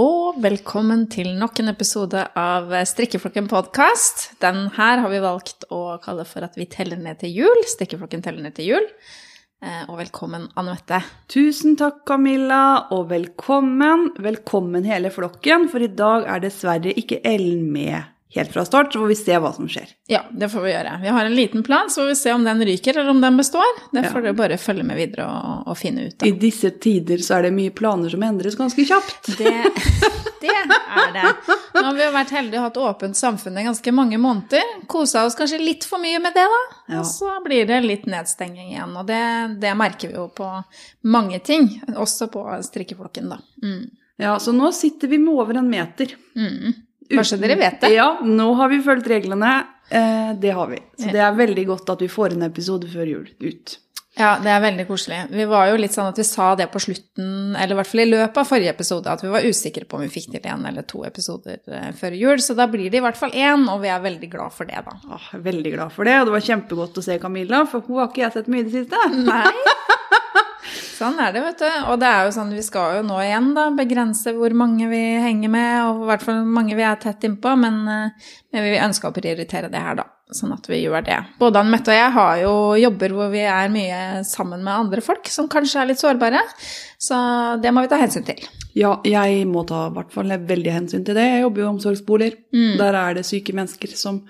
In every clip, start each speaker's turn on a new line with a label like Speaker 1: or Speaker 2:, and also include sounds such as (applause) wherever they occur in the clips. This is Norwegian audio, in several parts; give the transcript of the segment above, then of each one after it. Speaker 1: og velkommen til nok en episode av Strikkeflokken podkast. Den her har vi valgt å kalle for at vi teller ned til jul. Strikkeflokken teller ned til jul. Eh, Og velkommen, Anne Mette.
Speaker 2: Tusen takk, Camilla, og velkommen. Velkommen hele flokken, for i dag er dessverre ikke Ellen med helt fra start, så får vi se hva som skjer.
Speaker 1: Ja, det får vi gjøre. Vi har en liten plan, så får vi se om den ryker eller om den består. Det
Speaker 2: Ja.
Speaker 1: får dere bare følge med videre og, og finne ut
Speaker 2: I
Speaker 1: av.
Speaker 2: disse tider så er det mye planer som endres ganske kjapt.
Speaker 1: Det, (laughs) det er det. Nå har vi jo vært heldige og hatt åpent samfunn i ganske mange måneder. Kosa oss kanskje litt for mye med det, da.
Speaker 2: Ja.
Speaker 1: Og så blir det litt nedstenging igjen. Og det, det merker vi jo på mange ting, også på strikkeflokken, da. Mm.
Speaker 2: Ja, så nå sitter vi med over en meter.
Speaker 1: Mm. Bare så
Speaker 2: Uten-
Speaker 1: dere vet det.
Speaker 2: Ja, nå har vi fulgt reglene. Eh, det har vi. Så det er veldig godt at vi får en episode før jul ut.
Speaker 1: Ja, det er veldig koselig. Vi var jo litt sånn at vi sa det på slutten, eller i hvert fall i løpet av forrige episode, at vi var usikre på om vi fikk til én eller to episoder eh, før jul. Så da blir det i hvert fall én, og vi er veldig glad for det, da.
Speaker 2: Åh, jeg er veldig glad for det, og det var kjempegodt å se Camilla, for hun har ikke jeg sett mye i det siste.
Speaker 1: Nei. Sånn er det, vet du. Og det er jo sånn, vi skal jo nå igjen da, begrense hvor mange vi henger med, og i hvert fall hvor mange vi er tett innpå, men, eh, men vi ønsker å prioritere det her, da. Sånn at vi gjør det. Både Ann Mette og jeg har jo jobber hvor vi er mye sammen med andre folk som kanskje er litt sårbare, så det må vi ta hensyn til.
Speaker 2: Ja, jeg må ta i hvert fall veldig hensyn til det. Jeg jobber jo i omsorgsboliger.
Speaker 1: Mm.
Speaker 2: Der er det syke mennesker som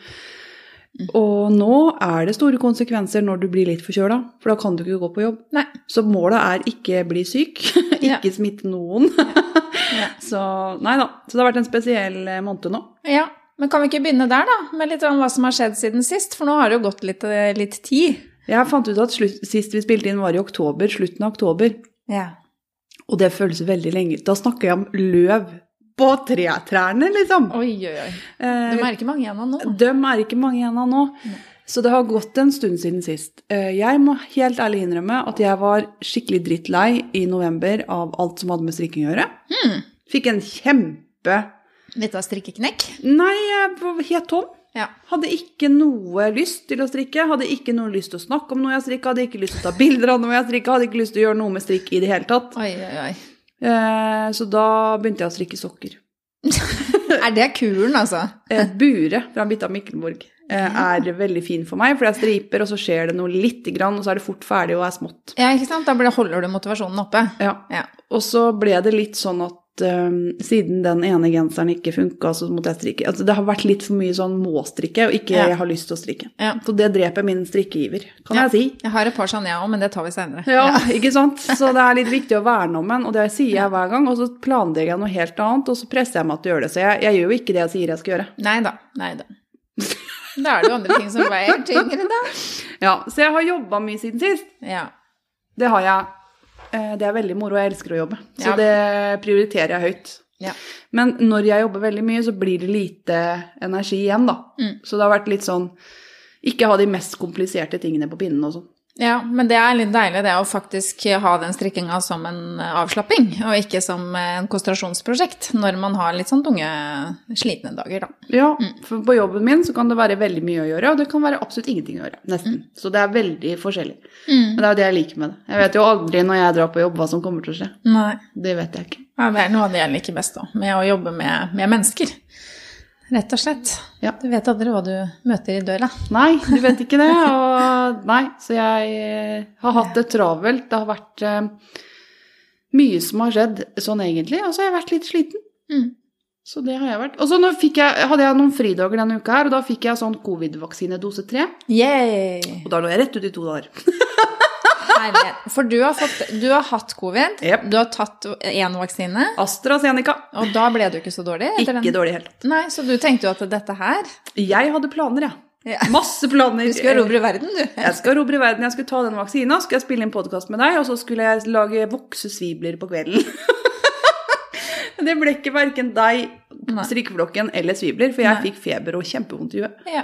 Speaker 2: Og nå er det store konsekvenser når du blir litt forkjøla, for da kan du ikke gå på jobb.
Speaker 1: Nei.
Speaker 2: Så målet er ikke bli syk, (laughs)
Speaker 1: Ja.
Speaker 2: ikke smitte noen.
Speaker 1: (laughs) Ja.
Speaker 2: Så nei da. Så det har vært en spesiell eh, måned nå.
Speaker 1: Ja, men kan vi ikke begynne der, da? Med litt om hva som har skjedd siden sist, for nå har det jo gått litt, eh, litt tid.
Speaker 2: Jeg fant ut at slutt, sist vi spilte inn var i oktober, slutten av oktober.
Speaker 1: Ja.
Speaker 2: Og det føles veldig lenge ut. Da snakker jeg om løv på tretrærne, liksom.
Speaker 1: Oi, oi, oi.
Speaker 2: Eh,
Speaker 1: Du merker mange igjen av nå.
Speaker 2: Dem er ikke mange igjen av nå. Så det har gått en stund siden sist. Eh, Jeg må helt ærlig innrømme at jeg var skikkelig drittlei i november av alt som hadde med strikking å gjøre. Fikk en kjempe
Speaker 1: Litt av strikkeknekk.
Speaker 2: Nei, jeg var helt tom.
Speaker 1: Ja.
Speaker 2: Hadde ikke noe lyst til å strikke. Hadde ikke noe lyst til å snakke om noe jeg strikka. Hadde ikke lyst til å ta bilder av noe jeg strikka. Hadde ikke lyst til å gjøre noe med strikk i det hele tatt.
Speaker 1: Oi, oi, oi.
Speaker 2: Eh, Så da begynte jeg å strikke sokker.
Speaker 1: Er det kuren, altså?
Speaker 2: Eh, Bure fra Bitta Mikkelborg eh, er veldig fin for meg, for jeg striper, og så skjer det noe lite grann, og så er det fort ferdig og er smått.
Speaker 1: Ja, ikke sant? Da blir- holder du motivasjonen oppe.
Speaker 2: Ja.
Speaker 1: Ja.
Speaker 2: Og så ble det litt sånn at eh, siden den ene genseren ikke funka, så måtte jeg strikke. Altså, det har vært litt for mye sånn må-strikke, og ikke
Speaker 1: Ja.
Speaker 2: jeg har lyst til å strikke.
Speaker 1: Ja.
Speaker 2: Så det dreper min strikkeiver, kan
Speaker 1: Ja.
Speaker 2: jeg si.
Speaker 1: Jeg har et par sånne, jeg òg, men det tar vi seinere.
Speaker 2: Ja, ikke sant? Så det er litt viktig å verne om en, og det sier jeg hver gang. Og så planlegger jeg noe helt annet, og så presser jeg meg til å gjøre det. Så jeg, jeg gjør jo ikke det jeg sier jeg skal gjøre.
Speaker 1: Nei da. Nei da. Da er det jo andre ting som veier tyngre, da.
Speaker 2: Ja, Så jeg har jobba mye siden sist.
Speaker 1: Ja.
Speaker 2: Det har jeg. Eh, Det er veldig moro, og jeg elsker å jobbe. Så
Speaker 1: Ja.
Speaker 2: det prioriterer jeg høyt.
Speaker 1: ja.
Speaker 2: Men når jeg jobber veldig mye, så blir det lite energi igjen, da.
Speaker 1: Mm.
Speaker 2: Så det har vært litt sånn Ikke ha de mest kompliserte tingene på pinnen og sånn.
Speaker 1: Ja, men det er litt deilig det å faktisk ha den strikkinga som en eh, avslapping, og ikke som eh, en konsentrasjonsprosjekt når man har litt sånn tunge, slitne dager, da.
Speaker 2: Ja,
Speaker 1: Mm.
Speaker 2: for på jobben min så kan det være veldig mye å gjøre, og det kan være absolutt ingenting å gjøre. Nesten. Så det er veldig forskjellig.
Speaker 1: Mm.
Speaker 2: Men det er jo det jeg liker med det. Jeg vet jo aldri når jeg drar på jobb hva som kommer til å skje.
Speaker 1: Nei.
Speaker 2: Det vet jeg ikke.
Speaker 1: Ja, det er noe av det jeg liker best òg, med å jobbe med, med mennesker. Rett og slett.
Speaker 2: Ja.
Speaker 1: Du vet aldri hva du møter i døra.
Speaker 2: Nei, du vet ikke det. Og nei, så jeg eh, har hatt det travelt. Det har vært eh, mye som har skjedd sånn egentlig, og så har jeg vært litt sliten.
Speaker 1: Mm.
Speaker 2: Så det har jeg vært. Og så nå fikk jeg, hadde jeg noen fridager denne uka her, og da fikk jeg sånn covid-vaksine dose tre.
Speaker 1: Yay!
Speaker 2: Og da lå jeg rett ut i to dager.
Speaker 1: Herlighet. For du har, fått, du har hatt covid,
Speaker 2: Jep.
Speaker 1: du har tatt én vaksine,
Speaker 2: AstraZeneca.
Speaker 1: og da ble du ikke så dårlig?
Speaker 2: Ikke dårlig helt.
Speaker 1: Nei, så du tenkte jo at dette her
Speaker 2: Jeg hadde planer, jeg.
Speaker 1: ja.
Speaker 2: Masse planer.
Speaker 1: Du skal erobre verden, du.
Speaker 2: Jeg skal erobre verden, jeg skulle ta den vaksina, skulle jeg spille inn podkast med deg, og så skulle jeg lage voksesvibler på kvelden. (laughs) det ble ikke verken deg,
Speaker 1: Nei.
Speaker 2: strikkeflokken eller svibler, for jeg
Speaker 1: Nei.
Speaker 2: fikk feber og kjempevondt i huet.
Speaker 1: Ja.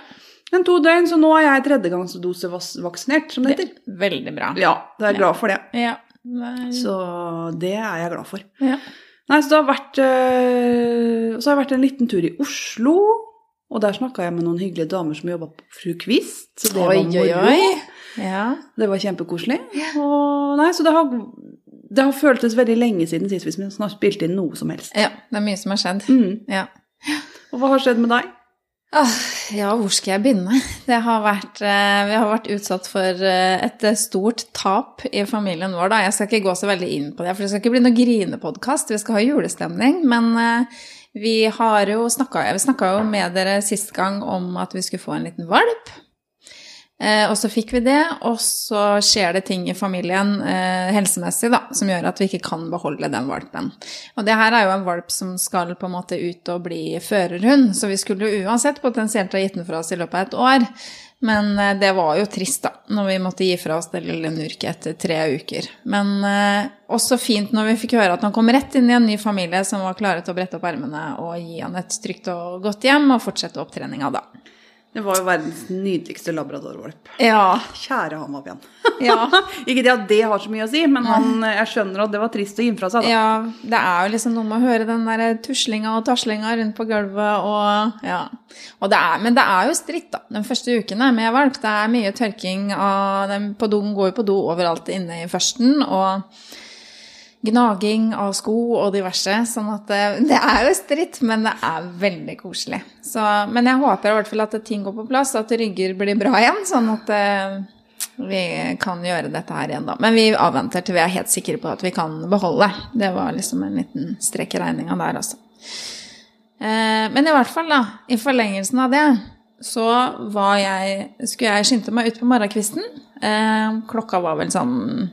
Speaker 2: Men to døgn, så nå er jeg tredjegangsdosevaksinert, som det heter.
Speaker 1: Veldig bra.
Speaker 2: Ja, da er jeg glad for det.
Speaker 1: Ja. Mm. Nei.
Speaker 2: Så det er jeg glad for.
Speaker 1: ja.
Speaker 2: Nei, så det har vært øh, Så har jeg vært en liten tur i Oslo. Og der snakka jeg med noen hyggelige damer som jobba på Fru Kvist. Så det
Speaker 1: Oi,
Speaker 2: var
Speaker 1: oi,
Speaker 2: moro.
Speaker 1: oi. Ja.
Speaker 2: Det var kjempekoselig. Og, nei, så det har Det har føltes veldig lenge siden sist hvis vi snart spilte inn noe som helst.
Speaker 1: Ja, det er mye som har skjedd.
Speaker 2: Mm.
Speaker 1: Ja.
Speaker 2: Og hva har skjedd med deg?
Speaker 1: Åh, ja, hvor skal jeg begynne? Det har vært, eh, vi har vært utsatt for eh, et stort tap i familien vår. Da. Jeg skal ikke gå så veldig inn på det, for det skal ikke bli noe grinepodkast. Vi skal ha julestemning. Men eh, vi har jo snakka, vi snakka jo med dere sist gang om at vi skulle få en liten valp. Eh, og så fikk vi det, og så skjer det ting i familien eh, helsemessig da, som gjør at vi ikke kan beholde den valpen. Og det her er jo en valp som skal på en måte ut og bli førerhund, så vi skulle jo uansett potensielt ha gitt den fra oss i løpet av et år. Men eh, det var jo trist, da, når vi måtte gi fra oss det lille Nurket etter tre uker. Men eh, også fint når vi fikk høre at han kom rett inn i en ny familie som var klare til å brette opp ermene og gi han et trygt og godt hjem og fortsette opptreninga da.
Speaker 2: Det var jo verdens nydeligste labradorvalp.
Speaker 1: Ja,
Speaker 2: Kjære Hamabian.
Speaker 1: ja.
Speaker 2: (laughs) Ikke det at det har så mye å si, men han, jeg skjønner at det var trist å gi fra seg. Da.
Speaker 1: Ja, det er jo liksom noe med å høre den der tuslinga og taslinga rundt på gulvet og Ja. Og det er, men det er jo stritt, da. Den første uken er med valp. Det er mye tørking av dem på do. Går jo på do overalt inne i førsten. Og gnaging av sko og diverse. Sånn at det, det er jo stritt, men det er veldig koselig. Så, men jeg håper i hvert fall at ting går på plass, at rygger blir bra igjen. Sånn at eh, vi kan gjøre dette her igjen, da. Men vi avventer til vi er helt sikre på at vi kan beholde. Det var liksom en liten strekk i regninga der, altså. Eh, Men i hvert fall, da, i forlengelsen av det, så var jeg Skulle jeg skynde meg ut på morgenkvisten. Eh, Klokka var vel sånn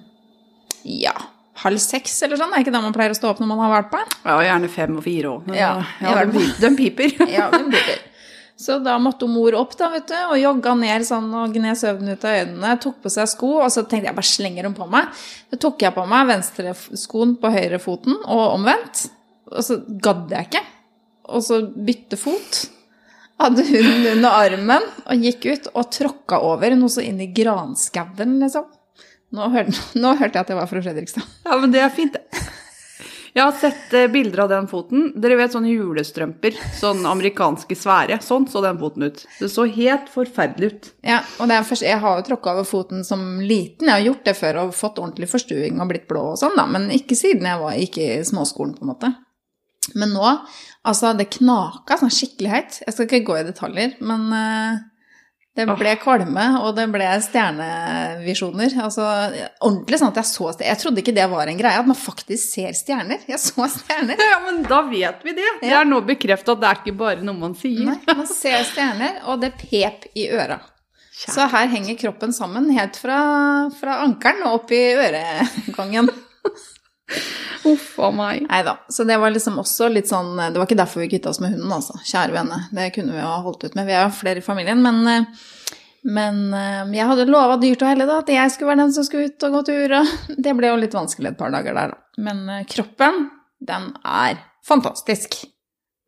Speaker 1: ja, halv seks eller sånn. Er ikke da man pleier å stå opp når man har valpa?
Speaker 2: Ja, gjerne fem og fire òg.
Speaker 1: Ja, i
Speaker 2: ja,
Speaker 1: hvert
Speaker 2: de, pi- de piper.
Speaker 1: (laughs) Ja, den burde. Så da måtte hun mor opp da, vet du, og jogga ned sånn og gned søvnen ut av øynene, tok på seg sko, og så tenkte jeg bare slenger hun på meg. Så tok jeg på meg venstre f- skoen på høyre foten, og omvendt. Og så gadd jeg ikke. Og så bytte fot. Hadde hunden under armen og gikk ut og tråkka over noe så inn i granskauen, liksom. Nå hørte, nå hørte jeg at jeg var fra Fredrikstad.
Speaker 2: (laughs) Ja, men det er fint, det. Jeg har sett eh, bilder av den foten. Dere vet sånne julestrømper, sånn amerikanske svære. Sånn så den foten ut. Det så helt forferdelig ut.
Speaker 1: Ja, og det er først, jeg har jo tråkka over foten som liten. Jeg har gjort det før og fått ordentlig forstuing og blitt blå og sånn, da. Men ikke siden jeg var, gikk i småskolen, på en måte. Men nå, altså, det knaka sånn skikkelig høyt. Jeg skal ikke gå i detaljer, men eh, det ble kvalme, og det ble stjernevisjoner. Altså ordentlig sånn at jeg så stjerner. Jeg trodde ikke det var en greie, at man faktisk ser stjerner. Jeg så stjerner.
Speaker 2: Ja, men da vet vi det. Det er nå bekrefta at det er ikke bare noe man sier.
Speaker 1: Nei, man ser stjerner, og det pep i øra.
Speaker 2: Kjære.
Speaker 1: Så her henger kroppen sammen helt fra, fra ankelen og opp i øregangen.
Speaker 2: Uff a meg.
Speaker 1: Nei da. Så det var liksom også litt sånn Det var ikke derfor vi kvitta oss med hunden, altså. Kjære vene. Det kunne vi jo ha holdt ut med. Vi er jo flere i familien. Men, eh, men eh, jeg hadde lova dyrt og hellig da, at jeg skulle være den som skulle ut og gå tur. Og det ble jo litt vanskelig et par dager der, da. Men eh, kroppen, den er fantastisk.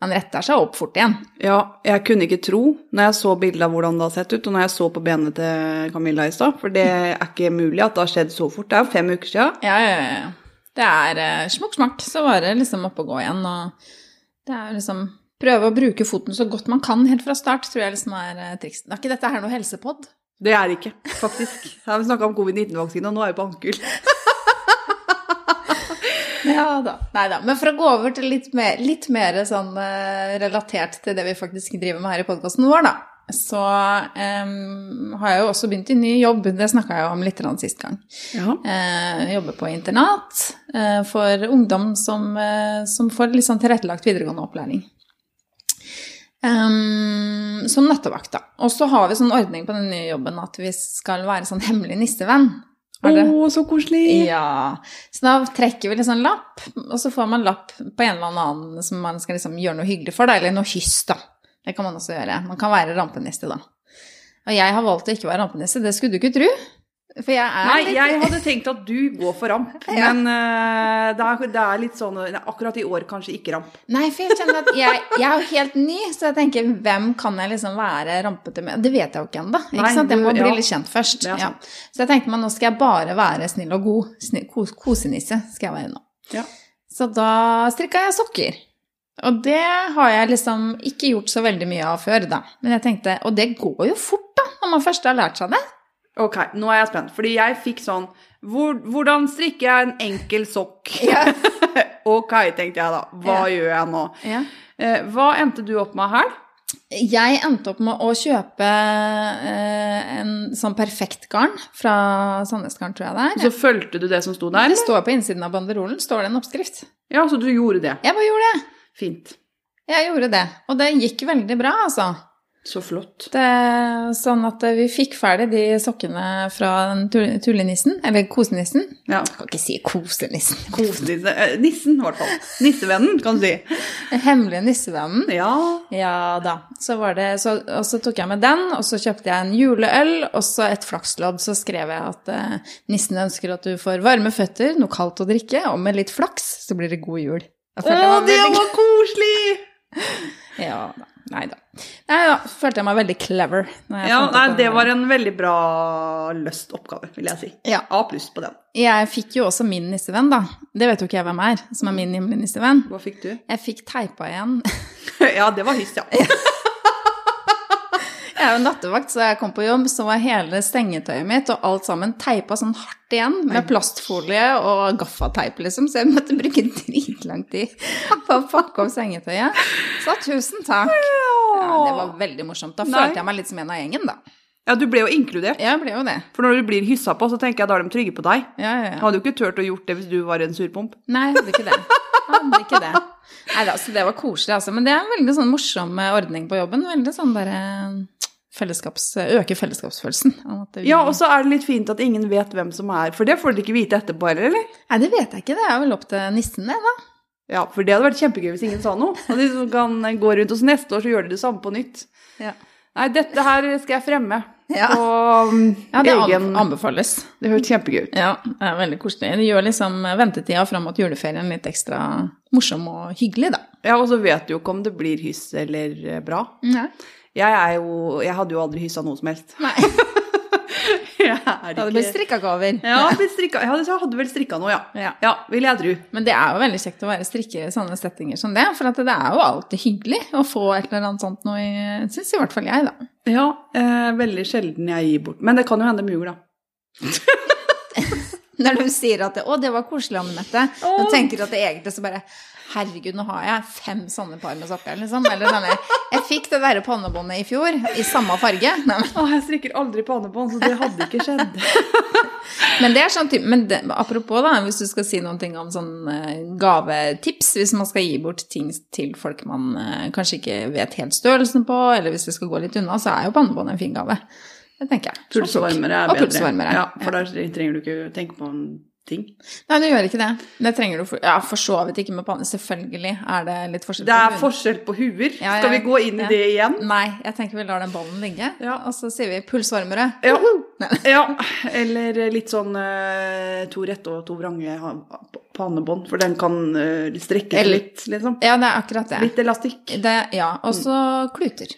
Speaker 1: Den retter seg opp fort igjen.
Speaker 2: Ja, jeg kunne ikke tro når jeg så bildet av hvordan det har sett ut, og når jeg så på benet til Camilla i stad, for det er ikke mulig at det har skjedd så fort. Det er jo fem uker sia.
Speaker 1: Ja, ja, ja, ja. Det er eh, smukk smakk, så var det liksom opp og gå igjen. Og det er liksom prøve å bruke foten så godt man kan helt fra start, tror jeg liksom er eh, trikset. Er ikke dette her noe helsepod?
Speaker 2: Det er det ikke, faktisk. (laughs) Her har vi snakka om covid-19-vaksine, og nå er vi på ankel.
Speaker 1: Ja da. Nei da. Men for å gå over til litt mer, litt mer sånn eh, relatert til det vi faktisk driver med her i podkasten vår, da. Så em, har jeg jo også begynt i ny jobb, det snakka jeg jo om litt grann sist gang.
Speaker 2: Ja.
Speaker 1: Eh, jobber på internat eh, for ungdom som, eh, som får litt sånn tilrettelagt videregående opplæring. Ehm, som nøttevakt, da. Og så har vi sånn ordning på den nye jobben at vi skal være sånn hemmelig nissevenn.
Speaker 2: Å,
Speaker 1: Har dere-
Speaker 2: så koselig.
Speaker 1: ja. Så da trekker vi liksom lapp, og så får man lapp på en eller annen som man skal liksom gjøre noe hyggelig for, da, eller noe hyss, da. Det kan man også gjøre. Man kan være rampenisse, da. Og jeg har valgt å ikke være rampenisse, det skulle du ikke tro. For jeg er
Speaker 2: Nei,
Speaker 1: litt-
Speaker 2: jeg hadde tenkt at du går for ramp,
Speaker 1: Ja.
Speaker 2: men eh, det, er, det er litt sånn nei, Akkurat i år kanskje ikke ramp.
Speaker 1: Nei, for jeg kjenner at jeg, jeg er jo helt ny, så jeg tenker hvem kan jeg liksom være rampete med? Det vet jeg jo ikke ennå.
Speaker 2: Nei,
Speaker 1: Jeg må
Speaker 2: du-
Speaker 1: bli
Speaker 2: ja.
Speaker 1: litt kjent først.
Speaker 2: Det er
Speaker 1: Ja. Så jeg tenkte meg nå skal jeg bare være snill og god. Snill, kos, kosenisse skal jeg være nå.
Speaker 2: Ja.
Speaker 1: Så da strikka jeg sokker. Og det har jeg liksom ikke gjort så veldig mye av før, da. Men jeg tenkte, og det går jo fort, da, når man først har lært seg det.
Speaker 2: Ok, nå er jeg spent, fordi jeg fikk sånn Hvor, hvordan strikker jeg en enkel sokk?
Speaker 1: Ja.
Speaker 2: ok, tenkte jeg da. Hva gjør jeg nå?
Speaker 1: (laughs) Ja.
Speaker 2: Eh, hva endte du opp med her?
Speaker 1: Jeg endte opp med å kjøpe eh, en sånn perfekt garn fra Sandnes Garn, tror jeg det er.
Speaker 2: Så fulgte du det som sto der?
Speaker 1: Det
Speaker 2: eller?
Speaker 1: står på innsiden av banderolen står det en oppskrift.
Speaker 2: Ja, så du gjorde det.
Speaker 1: Jeg bare gjorde det.
Speaker 2: Fint.
Speaker 1: Jeg gjorde det. Og det gikk veldig bra, altså.
Speaker 2: Så flott.
Speaker 1: Det, sånn at vi fikk ferdig de sokkene fra den tu- tullenissen, eller kosenissen.
Speaker 2: Ja.
Speaker 1: Jeg kan ikke si kosenissen.
Speaker 2: Kosenisse. eh, Nissen, i hvert fall. Nissevennen, kan du si.
Speaker 1: Den hemmelige nissevennen.
Speaker 2: Ja.
Speaker 1: Ja da. Så var det, så, og så tok jeg med den, og så kjøpte jeg en juleøl og så et flakslodd. Så skrev jeg at eh, nissen ønsker at du får varme føtter, noe kaldt å drikke, og med litt flaks så blir det god jul. Jeg
Speaker 2: Å,
Speaker 1: følte jeg var
Speaker 2: det
Speaker 1: veldig-
Speaker 2: var koselig!
Speaker 1: Ja da. Nei da. Nei da. Følte jeg meg veldig clever. når jeg
Speaker 2: Ja,
Speaker 1: fant opp
Speaker 2: nei,
Speaker 1: den
Speaker 2: det
Speaker 1: der.
Speaker 2: var en veldig bra løst oppgave, vil jeg si.
Speaker 1: Ja.
Speaker 2: A pluss på den.
Speaker 1: Jeg fikk jo også min nissevenn, da. Det vet jo ikke jeg hvem er, som er min himmelige nissevenn.
Speaker 2: Hva fikk du?
Speaker 1: Jeg fikk teipa igjen.
Speaker 2: (laughs)
Speaker 1: (laughs)
Speaker 2: ja, det var hyss, ja.
Speaker 1: Jeg er jo nattevakt, så jeg kom på jobb, så var hele sengetøyet mitt og alt sammen teipa sånn hardt igjen med plastfolie og gaffateip, liksom. Så jeg måtte bruke dritlang tid på å pakke opp sengetøyet. Så tusen takk. Ja, det var veldig morsomt. Da
Speaker 2: Nei.
Speaker 1: følte jeg meg litt som en av gjengen, da.
Speaker 2: Ja, du ble jo inkludert.
Speaker 1: Jeg ble jo det.
Speaker 2: For når du blir hyssa på, så tenker jeg da er de trygge på deg.
Speaker 1: Ja, ja, ja.
Speaker 2: Hadde jo ikke turt å gjort det hvis du var en surpomp.
Speaker 1: Nei, jeg hadde ikke det. Jeg Hadde ikke det. Nei da, så det var koselig, altså. Men det er en veldig sånn morsom eh, ordning på jobben. Veldig sånn derre fellesskaps... eh, Øke fellesskapsfølelsen. av at vi-
Speaker 2: Ja, og så er det litt fint at ingen vet hvem som er, for det får dere ikke vite etterpå heller, eller?
Speaker 1: Nei, det vet jeg ikke. Det er vel opp til nissen, det, da.
Speaker 2: Ja, for det hadde vært kjempegøy hvis ingen sa noe. Og de som kan gå rundt oss neste år, så gjør de det samme på nytt.
Speaker 1: Ja,
Speaker 2: Nei, dette her skal jeg (laughs) fremme.
Speaker 1: Ja.
Speaker 2: Og
Speaker 1: det anb-
Speaker 2: egen
Speaker 1: anbefales.
Speaker 2: Det hørtes kjempegøy ut.
Speaker 1: Ja, det er veldig koselig. Det gjør liksom ventetida fram mot juleferien litt ekstra morsom og hyggelig, da.
Speaker 2: Ja, og så vet du jo ikke om det blir hyss eller eh, bra.
Speaker 1: Nei.
Speaker 2: Jeg er jo Jeg hadde jo aldri hyssa noe som (laughs) helst.
Speaker 1: Da
Speaker 2: Jeg er
Speaker 1: hadde det blitt strikkagaver.
Speaker 2: ja, blitt strikka. Jeg hadde, jeg hadde vel strikka noe, ja.
Speaker 1: Ja.
Speaker 2: vil jeg tro.
Speaker 1: Men det er jo veldig kjekt å være strikker i sånne settinger som det, for at det er jo alltid hyggelig å få et eller annet sånt noe, syns i hvert fall jeg, da.
Speaker 2: Ja, eh, veldig sjelden jeg gir bort. Men det kan jo hende de gjør, da.
Speaker 1: Når de sier at det, 'Å, det var koselig, Anne Mette', da
Speaker 2: Å.
Speaker 1: tenker du at det egentlig så bare 'Herregud, nå har jeg fem sånne par med sokker', liksom. Eller denne 'Jeg fikk det derre pannebåndet i fjor, i samme farge'. Nei, men-
Speaker 2: Å, jeg strikker aldri pannebånd, så det hadde ikke (laughs) skjedd.
Speaker 1: Men det er sånn type Men det, apropos, da, hvis du skal si noen ting om sånn eh, gavetips, hvis man skal gi bort ting til folk man eh, kanskje ikke vet helt størrelsen på, eller hvis vi skal gå litt unna, så er jo pannebånd en fin gave. Det tenker jeg.
Speaker 2: Pulsvarmere er
Speaker 1: Og
Speaker 2: bedre.
Speaker 1: pulsvarmere.
Speaker 2: Ja, for da trenger du ikke tenke på en ting.
Speaker 1: Nei, du gjør ikke det. Det trenger du for, ja, for så vidt ikke med panne. Selvfølgelig er det litt forskjell.
Speaker 2: Det
Speaker 1: på
Speaker 2: er
Speaker 1: huden.
Speaker 2: forskjell på huer.
Speaker 1: Ja, ja.
Speaker 2: Skal vi gå inn i
Speaker 1: Ja.
Speaker 2: det igjen?
Speaker 1: Nei, jeg tenker vi lar den ballen ligge,
Speaker 2: Ja.
Speaker 1: og så sier vi pulsvarmere.
Speaker 2: Ja.
Speaker 1: Nei.
Speaker 2: (laughs) ja. Eller litt sånn eh, to rette og to vrange ha- pannebånd, for den kan eh, strekke seg
Speaker 1: Eller-
Speaker 2: litt, liksom.
Speaker 1: Ja, det er akkurat det.
Speaker 2: Litt elastikk.
Speaker 1: det ja, og så kluter.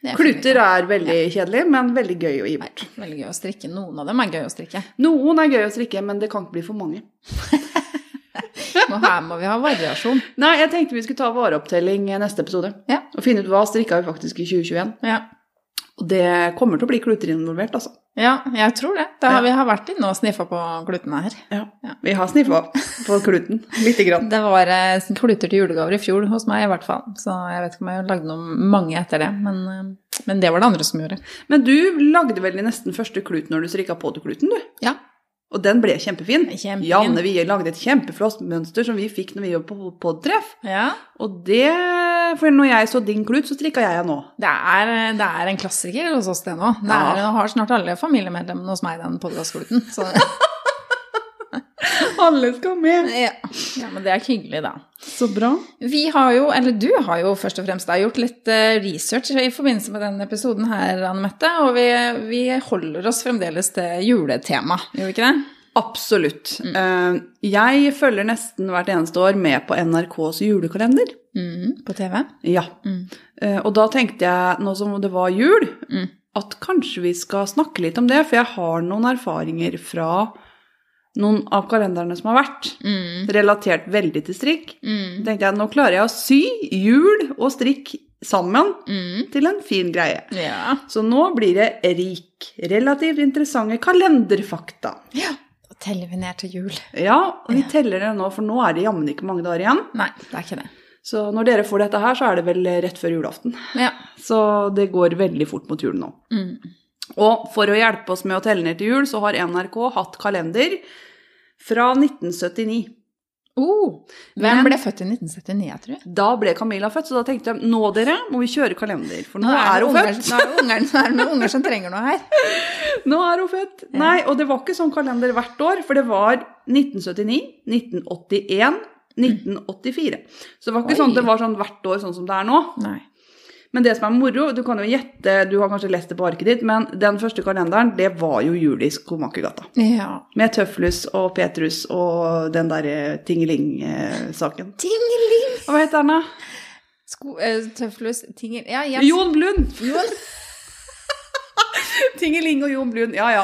Speaker 1: Det er
Speaker 2: Kluter er veldig kjedelig, men veldig gøy å gi bort.
Speaker 1: fint. Veldig gøy å strikke. Noen av dem er gøy å strikke.
Speaker 2: Noen er gøy å strikke, men det kan ikke bli for mange.
Speaker 1: Og her må vi ha variasjon.
Speaker 2: Nei, jeg tenkte vi skulle ta vareopptelling i neste episode.
Speaker 1: Ja.
Speaker 2: Og finne ut hva strikka vi faktisk i 2021.
Speaker 1: Ja.
Speaker 2: Og det kommer til å bli kluter involvert, altså.
Speaker 1: ja, jeg tror det. Da
Speaker 2: Ja.
Speaker 1: har vi har vært inne og sniffa på klutene her. Ja.
Speaker 2: Vi har sniffa på kluten, (laughs) lite grann.
Speaker 1: Det var eh, kluter til julegaver i fjor hos meg, i hvert fall. Så jeg vet ikke om jeg lagde noen mange etter det, men, eh, men det var det andre som gjorde.
Speaker 2: Men du lagde vel nesten første klut når du strikka på til kluten, du?
Speaker 1: Ja.
Speaker 2: Og den ble kjempefin.
Speaker 1: Kjempefin.
Speaker 2: Janne Wie lagde et kjempeflott mønster som vi fikk når vi jobbet på podtreff.
Speaker 1: ja.
Speaker 2: Og det For når jeg så din klut, så strikka jeg nå.
Speaker 1: Det er, det er en klassiker hos oss, det nå. Det
Speaker 2: Ja.
Speaker 1: er, nå har snart alle familiemedlemmene hos meg den podkastkluten. Så
Speaker 2: Alle skal med.
Speaker 1: ja. ja, men det er hyggelig, da.
Speaker 2: Så bra.
Speaker 1: Vi har jo, eller du har jo først og fremst da, gjort litt eh, research i forbindelse med denne episoden her, Anne Mette. Og vi, vi holder oss fremdeles til juletema, gjør vi ikke det? Mm.
Speaker 2: Absolutt. Eh, Jeg følger nesten hvert eneste år med på NRKs julekalender.
Speaker 1: Mhm, på TV.
Speaker 2: Ja.
Speaker 1: Mm.
Speaker 2: Eh, Og da tenkte jeg, nå som det var jul,
Speaker 1: Mm.
Speaker 2: at kanskje vi skal snakke litt om det, for jeg har noen erfaringer fra noen av kalenderne som har vært,
Speaker 1: Mm.
Speaker 2: relatert veldig til strikk.
Speaker 1: Mm.
Speaker 2: Så tenkte jeg, nå klarer jeg å sy hjul og strikk sammen
Speaker 1: Mm.
Speaker 2: til en fin greie.
Speaker 1: Ja.
Speaker 2: Så nå blir det rik, relativt interessante kalenderfakta.
Speaker 1: ja. Da teller vi ned til jul.
Speaker 2: Ja, og vi teller det nå, for nå er det jammen ikke mange dager igjen.
Speaker 1: Nei, det er ikke det.
Speaker 2: Så når dere får dette her, så er det vel rett før julaften.
Speaker 1: Ja.
Speaker 2: Så det går veldig fort mot jul nå.
Speaker 1: Mm.
Speaker 2: Og for å hjelpe oss med å telle ned til jul, så har NRK hatt kalender fra 1979.
Speaker 1: Oh, hvem
Speaker 2: Men-
Speaker 1: ble født i 1979, jeg tror?
Speaker 2: Da ble Camilla født, så da tenkte jeg nå dere må vi kjøre kalender, for nå, er
Speaker 1: det
Speaker 2: hun
Speaker 1: unger,
Speaker 2: født.
Speaker 1: nå er det unger, nå er det noen unger som trenger noe her.
Speaker 2: Nå er hun født. Nei, og det var ikke sånn kalender hvert år, for det var 1979, 1981, 1984. Så det var ikke
Speaker 1: Oi.
Speaker 2: sånn at det var sånn hvert år sånn som det er nå.
Speaker 1: Nei.
Speaker 2: Men det som er moro, du kan jo gjette, du har kanskje lest det på arket ditt, men den første kalenderen, det var jo jul i Skomakergata.
Speaker 1: Ja.
Speaker 2: Med Tøflus og Petrus og den derre Tingeling-saken.
Speaker 1: Tingeling!
Speaker 2: Hva heter den, da?
Speaker 1: Sko, eh, tøflus, tingel... Ja, jeg...
Speaker 2: Jon Blund!
Speaker 1: Jon.
Speaker 2: (laughs) Tingeling og Jon Blund, ja ja.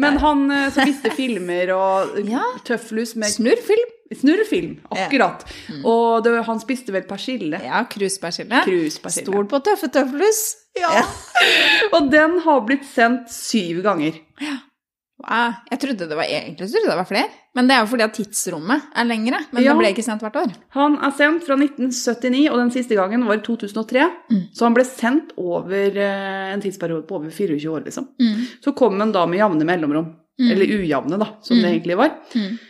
Speaker 2: Men han eh, som visste filmer og
Speaker 1: (laughs) Ja.
Speaker 2: Tøflus med
Speaker 1: Snurrfilm.
Speaker 2: Snurrfilm, akkurat. Og det, han spiste vel persille.
Speaker 1: Mm. Ja, kruspersille.
Speaker 2: Kruspersille.
Speaker 1: Stol på tøffe tøflus.
Speaker 2: Ja. og den har blitt sendt syv ganger.
Speaker 1: Ah, Jeg trodde det var egentlig trodde det var flere, men det er jo fordi at tidsrommet er lengre. Men
Speaker 2: Ja.
Speaker 1: det ble ikke sendt hvert år.
Speaker 2: Han er sendt fra 1979, og den siste gangen var i 2003.
Speaker 1: Mm.
Speaker 2: Så han ble sendt over eh, en tidsperiode på over 24 år, liksom.
Speaker 1: Mm.
Speaker 2: Så kom han da med jevne mellomrom.
Speaker 1: Mm.
Speaker 2: Eller ujevne, da, som det
Speaker 1: Mm.
Speaker 2: egentlig var.
Speaker 1: Mm.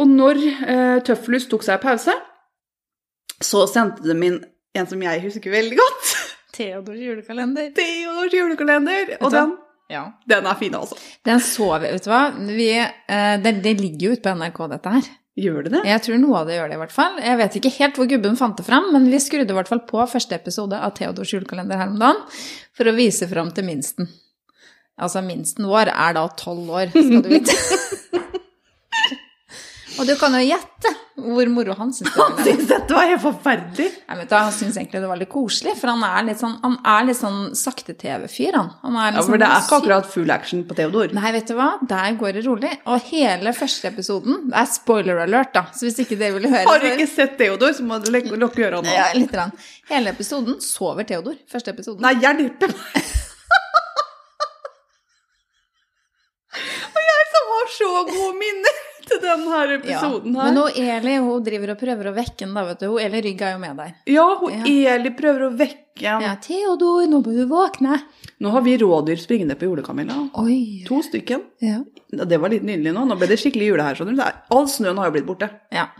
Speaker 2: Og når eh, Tøflus tok seg pause, så sendte de inn en som jeg husker veldig godt. (laughs)
Speaker 1: Theodors julekalender.
Speaker 2: Theodors julekalender. Og
Speaker 1: du hva?
Speaker 2: den,
Speaker 1: Ja.
Speaker 2: den er fin, altså.
Speaker 1: Den så vi, vet du hva. Vi, eh, det, det ligger jo ute på NRK, dette her.
Speaker 2: Gjør det det?
Speaker 1: Jeg tror noe av det gjør det, i hvert fall. Jeg vet ikke helt hvor gubben fant det fram, men vi skrudde i hvert fall på første episode av Theodors julekalender her om dagen for å vise fram til minsten. Altså, minsten vår er da tolv år, skal du
Speaker 2: (laughs)
Speaker 1: vite. Og du kan jo gjette hvor moro han syns det
Speaker 2: Han
Speaker 1: var.
Speaker 2: syntes (laughs) dette var helt forferdelig.
Speaker 1: Nei, vet du, han syns egentlig det var litt koselig, for han er litt sånn, han er litt sånn sakte-TV-fyr, han. han er
Speaker 2: Ja,
Speaker 1: litt
Speaker 2: Altså,
Speaker 1: sånn
Speaker 2: for det er ikke
Speaker 1: syk-
Speaker 2: akkurat full action på Theodor.
Speaker 1: Nei, vet du hva? Der går det rolig. Og hele første episoden Det er spoiler alert, da, så hvis ikke dere vil høre
Speaker 2: Har du
Speaker 1: så-
Speaker 2: ikke sett Theodor, så må du lek- lukke øra nå.
Speaker 1: altså- Ja, litt. Rann. Hele episoden sover Theodor. Første episoden.
Speaker 2: Nei, hjelpe meg! Og jeg som har så gode minner til denne episoden
Speaker 1: ja.
Speaker 2: her.
Speaker 1: Men hun Eli hun driver og prøver å vekke den, da, vet du. Hun Eli Rygg er jo med der.
Speaker 2: Ja, hun Eli prøver å vekke ham.
Speaker 1: Ja, 'Theodor, nå må du våkne'.
Speaker 2: Nå har vi rådyr springende på jordet, Camilla.
Speaker 1: Oi.
Speaker 2: To stykken.
Speaker 1: Ja.
Speaker 2: Det var litt nydelig nå. Nå ble det skikkelig jule her. skjønner du. Det er- All snøen har jo blitt borte.
Speaker 1: ja.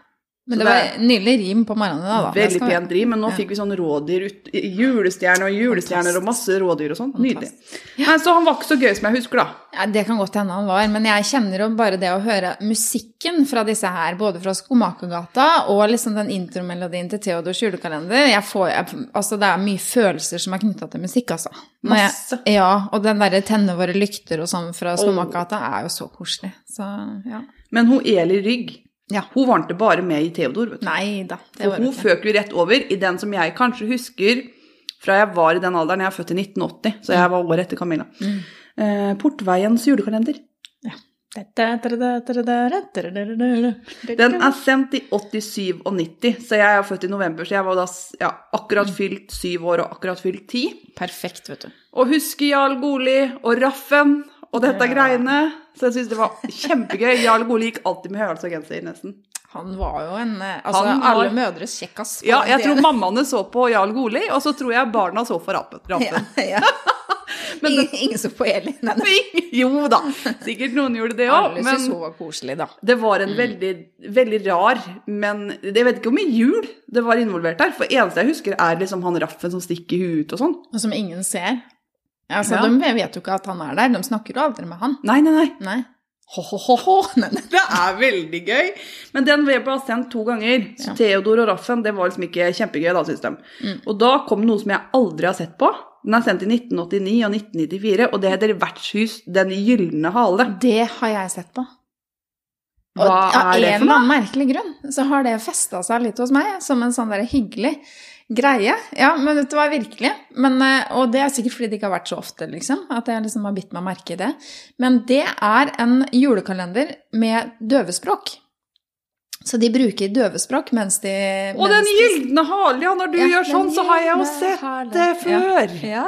Speaker 1: Men
Speaker 2: Så
Speaker 1: det
Speaker 2: det
Speaker 1: var nydelig rim på morgenen da. da. Det
Speaker 2: Veldig
Speaker 1: skal vi-
Speaker 2: pent rim, men nå
Speaker 1: Ja.
Speaker 2: fikk vi sånn rådyr ut, julestjerner og julestjerner og masse rådyr og sånt. Nydelig. Nei, så han var ikke så gøy som jeg husker, da.
Speaker 1: Ja, det kan godt hende han var, men jeg kjenner jo bare det å høre musikken fra disse her, både fra Skomakergata og liksom den intromelodien til Theodors julekalender. Jeg får, jeg, altså det er mye følelser som er knytta til musikk, altså. Når jeg-
Speaker 2: Masse.
Speaker 1: Ja, og den derre 'Tenne våre lykter' og sånn fra Skomakergata er jo så koselig. Så ja.
Speaker 2: Men hun Eli Rygg,
Speaker 1: Ja.
Speaker 2: hun var ikke bare med i Theodor, vet du.
Speaker 1: Nei da. Det
Speaker 2: For
Speaker 1: var
Speaker 2: hun
Speaker 1: det ikke.
Speaker 2: føk jo rett over i den som jeg kanskje husker fra jeg var i den alderen. Jeg er født i 1980, så jeg var året etter Camilla.
Speaker 1: Mm.
Speaker 2: Eh, Portveiens julekalender. Den er sendt i 87 og 90, så jeg er født i november, så jeg var da s- ja,
Speaker 1: Mm.
Speaker 2: akkurat fylt syv år og akkurat fylt ti.
Speaker 1: Perfekt, vet du.
Speaker 2: Og husker Jarl Goli og Raffen og dette greiene. Så jeg syns det var kjempegøy. Jarl Goli gikk alltid med høyhals og genser, nesten.
Speaker 1: Han var jo en eh, Altså,
Speaker 2: Han var-
Speaker 1: alle mødres kjekkas. på
Speaker 2: Ja, jeg
Speaker 1: det-
Speaker 2: tror mammaene så på Jarl Goli, og så tror jeg barna så på rapen.
Speaker 1: (laughs) ja,
Speaker 2: rapen.
Speaker 1: ja. ingen, ingen så på Elin. Nei, nei.
Speaker 2: Jo da,
Speaker 1: (laughs)
Speaker 2: sikkert noen gjorde det òg,
Speaker 1: Alle syntes
Speaker 2: men
Speaker 1: hun var koselig, da.
Speaker 2: det var en veldig, veldig rar Men jeg vet ikke hvor mye jul det var involvert der. For eneste jeg husker, er liksom han Raffen som stikker huet ut og sånn.
Speaker 1: Og som ingen ser. Altså,
Speaker 2: Ja.
Speaker 1: De vet jo ikke at han er der, de snakker jo aldri med han.
Speaker 2: Nei, nei, nei.
Speaker 1: Nei. Ho-ho-ho-ho. Nei, nei.
Speaker 2: Det er veldig gøy. Men den ble bare sendt to ganger. Så
Speaker 1: Ja.
Speaker 2: Theodor og Raffen, det var liksom ikke kjempegøy, da, syns de.
Speaker 1: Mm.
Speaker 2: Og da kom noe som jeg aldri har sett på. Den er sendt i 1989 og 1994, og det heter Vertshus Den gylne hale.
Speaker 1: Det har jeg sett på. Og
Speaker 2: Hva
Speaker 1: av
Speaker 2: er det
Speaker 1: en
Speaker 2: for
Speaker 1: eller
Speaker 2: noe?
Speaker 1: annen merkelig grunn så har det festa seg litt hos meg som en sånn der hyggelig greie. Ja, men vet du hva, virkelig. Men, eh, og det er sikkert fordi det ikke har vært så ofte, liksom. At jeg liksom har bitt meg merke i det. Men det er en julekalender med døvespråk. Så de bruker døvespråk mens de
Speaker 2: Og
Speaker 1: mens
Speaker 2: Den
Speaker 1: de-
Speaker 2: gylne hale, ja, når du
Speaker 1: Ja,
Speaker 2: gjør
Speaker 1: Den
Speaker 2: sånn, så har jeg jo
Speaker 1: gylne
Speaker 2: sett
Speaker 1: hale.
Speaker 2: det
Speaker 1: Ja.
Speaker 2: før.
Speaker 1: Ja.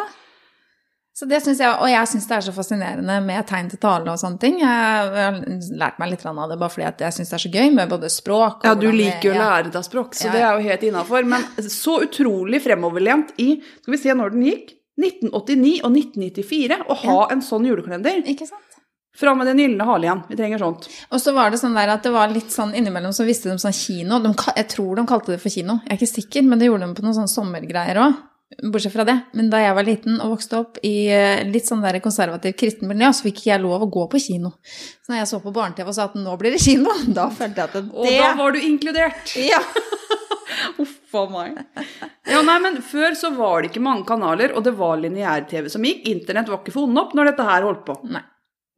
Speaker 1: Så det synes jeg, Og jeg syns det er så fascinerende med tegn til tale og sånne ting. Jeg har lært meg litt av det bare fordi at jeg syns det er så gøy med både språk og
Speaker 2: Ja, du
Speaker 1: hvordan det-
Speaker 2: liker jo å
Speaker 1: ja.
Speaker 2: lære deg språk, så
Speaker 1: Ja,
Speaker 2: det
Speaker 1: ja.
Speaker 2: er jo helt innafor. Men så utrolig fremoverlent i Skal vi se når den gikk? 1989 og 1994. Å ha en sånn julekalender.
Speaker 1: Ikke sant?
Speaker 2: Fra med Den gylne hale igjen. Vi trenger sånt.
Speaker 1: Og så var det sånn der at det var litt sånn innimellom så visste de sånn kino. De, ka- jeg tror de kalte det for kino. Jeg er ikke sikker, men det gjorde de på noen sånne sommergreier òg. Bortsett fra det. Men da jeg var liten og vokste opp i eh, litt sånn der konservativ kristen miljø, så fikk ikke jeg lov å gå på kino. Så når jeg så på barne-TV og sa at nå blir det kino, (laughs) da følte jeg at det,
Speaker 2: Og da var du
Speaker 1: (laughs)
Speaker 2: inkludert!
Speaker 1: ja.
Speaker 2: Uff a meg. Ja, nei, men før så var det ikke mange kanaler, og det var lineær-TV som gikk. Internett var ikke funnet opp når dette her holdt på.
Speaker 1: Nei.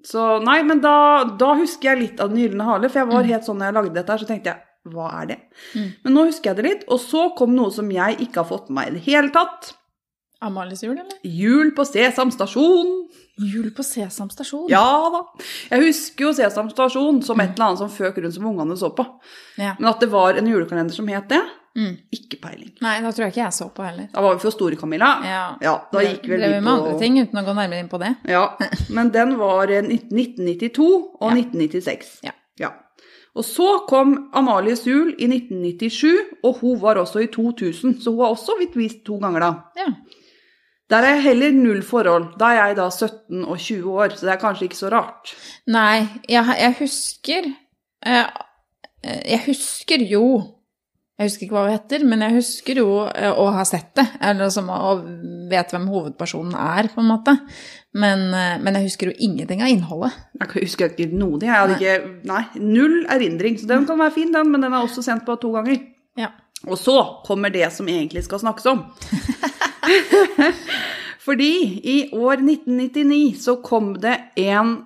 Speaker 2: Så nei, men da, da husker jeg litt av Den gylne hale, for jeg var helt sånn når jeg lagde dette her, så tenkte jeg hva er det?
Speaker 1: Mm.
Speaker 2: Men nå husker jeg det litt, og så kom noe som jeg ikke har fått med meg i det hele tatt.
Speaker 1: Amalies jul, eller?
Speaker 2: Jul på Sesam stasjon.
Speaker 1: Jul på Sesam stasjon.
Speaker 2: Ja da. Jeg husker jo Sesam stasjon som et eller annet som føk rundt som ungene så på.
Speaker 1: Mm. Ja.
Speaker 2: Men at det var en julekalender som het det,
Speaker 1: Mm.
Speaker 2: ikke peiling.
Speaker 1: Nei, da tror jeg ikke jeg så på heller.
Speaker 2: Da var vi for store, Camilla.
Speaker 1: Ja.
Speaker 2: da gikk vel
Speaker 1: Drev
Speaker 2: vi
Speaker 1: med
Speaker 2: på
Speaker 1: andre ting uten å gå nærmere inn på det.
Speaker 2: Ja, men den var eh, 1992 og
Speaker 1: Ja.
Speaker 2: 1996.
Speaker 1: Ja.
Speaker 2: Og så kom Amalie Suhl i 1997, og hun var også i 2000, så hun har også blitt vist to ganger da.
Speaker 1: Ja.
Speaker 2: Der er jeg heller null forhold. Da er jeg da 17 og 20 år, så det er kanskje ikke så rart.
Speaker 1: Nei, jeg, jeg husker eh, eh, Jeg husker jo Jeg husker ikke hva hun heter, men jeg husker jo eh, å ha sett det. Eller som å å vet hvem hovedpersonen er, på en måte. Men, eh, men jeg husker jo ingenting av innholdet.
Speaker 2: Jeg kan- husker ikke noe. Jeg hadde ikke, nei, null erindring, så den kan være fin den, men den er også sendt på to ganger.
Speaker 1: Ja.
Speaker 2: Og så kommer det som egentlig skal snakkes
Speaker 1: (laughs)
Speaker 2: om. Fordi i år 1999 så kom det en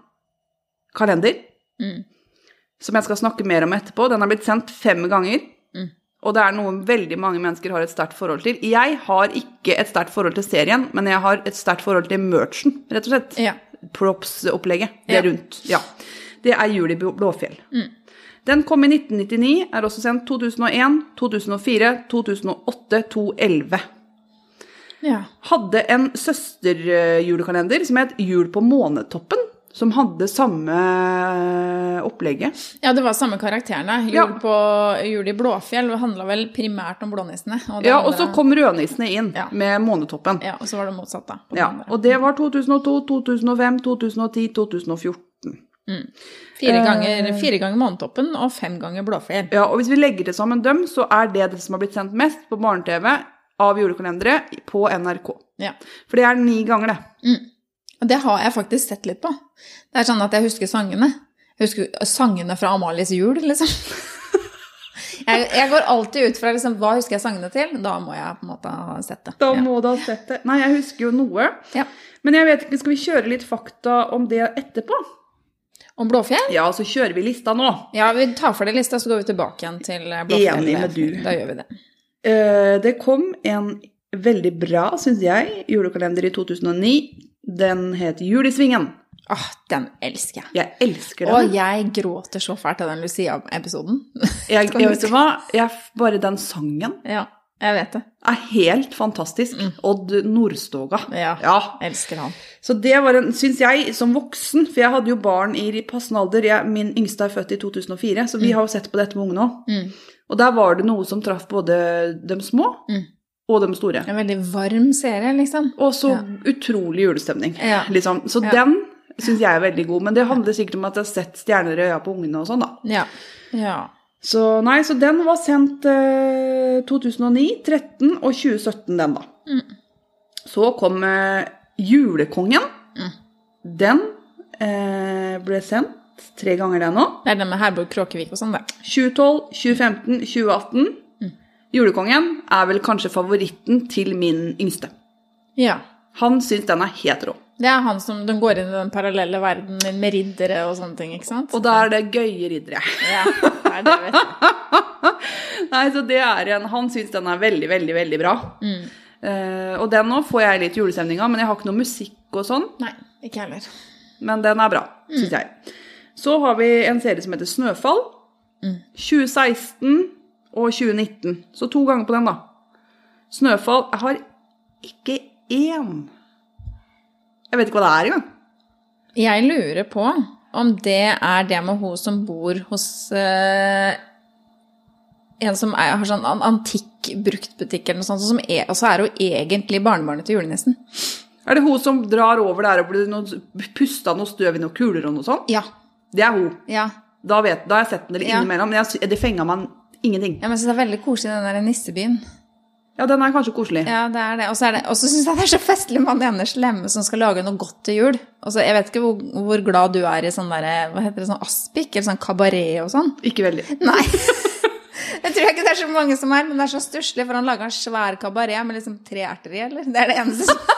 Speaker 2: kalender
Speaker 1: Mm.
Speaker 2: som jeg skal snakke mer om etterpå. Den har blitt sendt fem ganger.
Speaker 1: Mm.
Speaker 2: Og det er noe veldig mange mennesker har et sterkt forhold til. Jeg har ikke et sterkt forhold til serien, men jeg har et sterkt forhold til merchen, rett og slett
Speaker 1: ja.
Speaker 2: props-opplegget. Det er
Speaker 1: Ja.
Speaker 2: rundt. Ja. Det er Jul i Blå- Blåfjell.
Speaker 1: Mm.
Speaker 2: Den kom i 1999, er også sendt 2001, 2004, 2008, 2011.
Speaker 1: ja.
Speaker 2: Hadde en søsterjulekalender som het Jul på månetoppen, som hadde samme opplegget.
Speaker 1: Ja, det var samme karakterene. Jul,
Speaker 2: Ja.
Speaker 1: på, jul i Blåfjell handla vel primært om blånissene. Og det
Speaker 2: Ja, og
Speaker 1: andre-
Speaker 2: så kom rødnissene inn
Speaker 1: Ja.
Speaker 2: med månetoppen.
Speaker 1: ja, og så var det motsatt, da. på den
Speaker 2: Ja,
Speaker 1: andre.
Speaker 2: og det var 2002, 2005, 2010, 2014.
Speaker 1: Fire ganger, fire ganger Månetoppen og fem ganger Blåfjell.
Speaker 2: Ja, og hvis vi legger til sammen dem, så er det det som har blitt sendt mest på barne-TV av julekalendere på NRK.
Speaker 1: Ja.
Speaker 2: For det er ni ganger, det.
Speaker 1: Og det har jeg faktisk sett litt på. Det er sånn at jeg husker sangene. Jeg husker sangene fra Amalies jul,
Speaker 2: (laughs)
Speaker 1: liksom. Jeg, jeg går alltid ut fra liksom, hva husker jeg sangene til. Da må jeg på en måte ha sett det.
Speaker 2: Da
Speaker 1: Ja.
Speaker 2: må du ha sett det. Nei, jeg husker jo noe.
Speaker 1: Ja.
Speaker 2: Men jeg vet ikke, skal vi kjøre litt fakta om det etterpå?
Speaker 1: Om Blåfjell?
Speaker 2: Ja, så kjører vi lista nå.
Speaker 1: Ja, vi tar for det lista, så går vi tilbake igjen til eh, Blåfjell.
Speaker 2: Enig med du.
Speaker 1: Da gjør vi det.
Speaker 2: Eh, det kom en veldig bra, syns jeg, julekalender i 2009. Den het Jul i svingen.
Speaker 1: Åh, den elsker jeg.
Speaker 2: Jeg elsker
Speaker 1: Og
Speaker 2: den.
Speaker 1: jeg gråter så fælt av den Lucia-episoden. (laughs)
Speaker 2: Jeg, jeg vet du hva, jeg, bare den sangen
Speaker 1: ja, jeg vet det.
Speaker 2: er helt fantastisk. Odd Nordstoga.
Speaker 1: Ja.
Speaker 2: Mm. ja
Speaker 1: Elsker han.
Speaker 2: Så det var en, syns jeg, som voksen, for jeg hadde jo barn i passende alder. Jeg, min yngste er født i 2004, så vi har jo sett på dette med ungene òg.
Speaker 1: Mm.
Speaker 2: Og der var det noe som traff både de små
Speaker 1: Mm.
Speaker 2: og de store.
Speaker 1: En veldig varm serie, liksom.
Speaker 2: Og så
Speaker 1: Ja.
Speaker 2: utrolig julestemning,
Speaker 1: Ja.
Speaker 2: liksom. Så
Speaker 1: Ja.
Speaker 2: den syns jeg er veldig god. Men det handler sikkert om at jeg har sett stjerner i øya på ungene og sånn, da.
Speaker 1: Ja. ja.
Speaker 2: Så nei, så den var sendt eh, 2009, 13 og 2017, den da.
Speaker 1: Mm.
Speaker 2: Så kom eh, Julekongen.
Speaker 1: Mm.
Speaker 2: Den eh, ble sendt tre ganger den nå.
Speaker 1: Det er den med Herborg Kråkevik og sånn, det.
Speaker 2: 2012, 2015, 2018.
Speaker 1: Mm.
Speaker 2: Julekongen er vel kanskje favoritten til min yngste.
Speaker 1: Ja.
Speaker 2: Han syns den er helt rå.
Speaker 1: Det er han som de går inn i den parallelle verdenen med riddere og sånne ting, ikke sant?
Speaker 2: Og da er det gøye riddere. (laughs)
Speaker 1: Ja, det er det, vet du.
Speaker 2: Nei, så det er en Han syns den er veldig, veldig, veldig bra.
Speaker 1: Mm.
Speaker 2: Eh, og den nå får jeg litt julestemning av, men jeg har ikke noe musikk og sånn.
Speaker 1: (laughs) Nei, ikke heller.
Speaker 2: Men den er bra, syns jeg. Så har vi en serie som heter Snøfall. Mm. 2016 og 2019. Så to ganger på den, da. Snøfall Jeg har ikke én Jeg vet ikke hva det er engang.
Speaker 1: Jeg lurer på om det er det med hun som bor hos eh, en som er, har sånn an antikk bruktbutikk eller noe sånt, som er, og så er hun egentlig barnebarnet til julenissen.
Speaker 2: Er det hun som drar over der og blir noe, pusta noe støv i noen kuler og noe sånt?
Speaker 1: Ja.
Speaker 2: Det er hun.
Speaker 1: Ja.
Speaker 2: Da, vet, da har jeg sett den eller
Speaker 1: Ja.
Speaker 2: innimellom. Men jeg, sy- det fenga meg ingenting.
Speaker 1: Ja, men jeg synes det er veldig koselig, den der nissebyen.
Speaker 2: Ja, den er kanskje koselig.
Speaker 1: Ja, det er det. Og så er det- og så syns jeg det er så festlig med han ene slemme som skal lage noe godt til jul. Og så, jeg vet ikke hvor, hvor glad du er i sånn derre, hva heter det, sånn aspik, eller sånn kabaret og sånn. (laughs)
Speaker 2: Ikke veldig.
Speaker 1: Nei. Jeg tror ikke det er så mange som er, men det er så stusslig, for han lager en svær kabaret med liksom tre erter i, eller? Det er det eneste som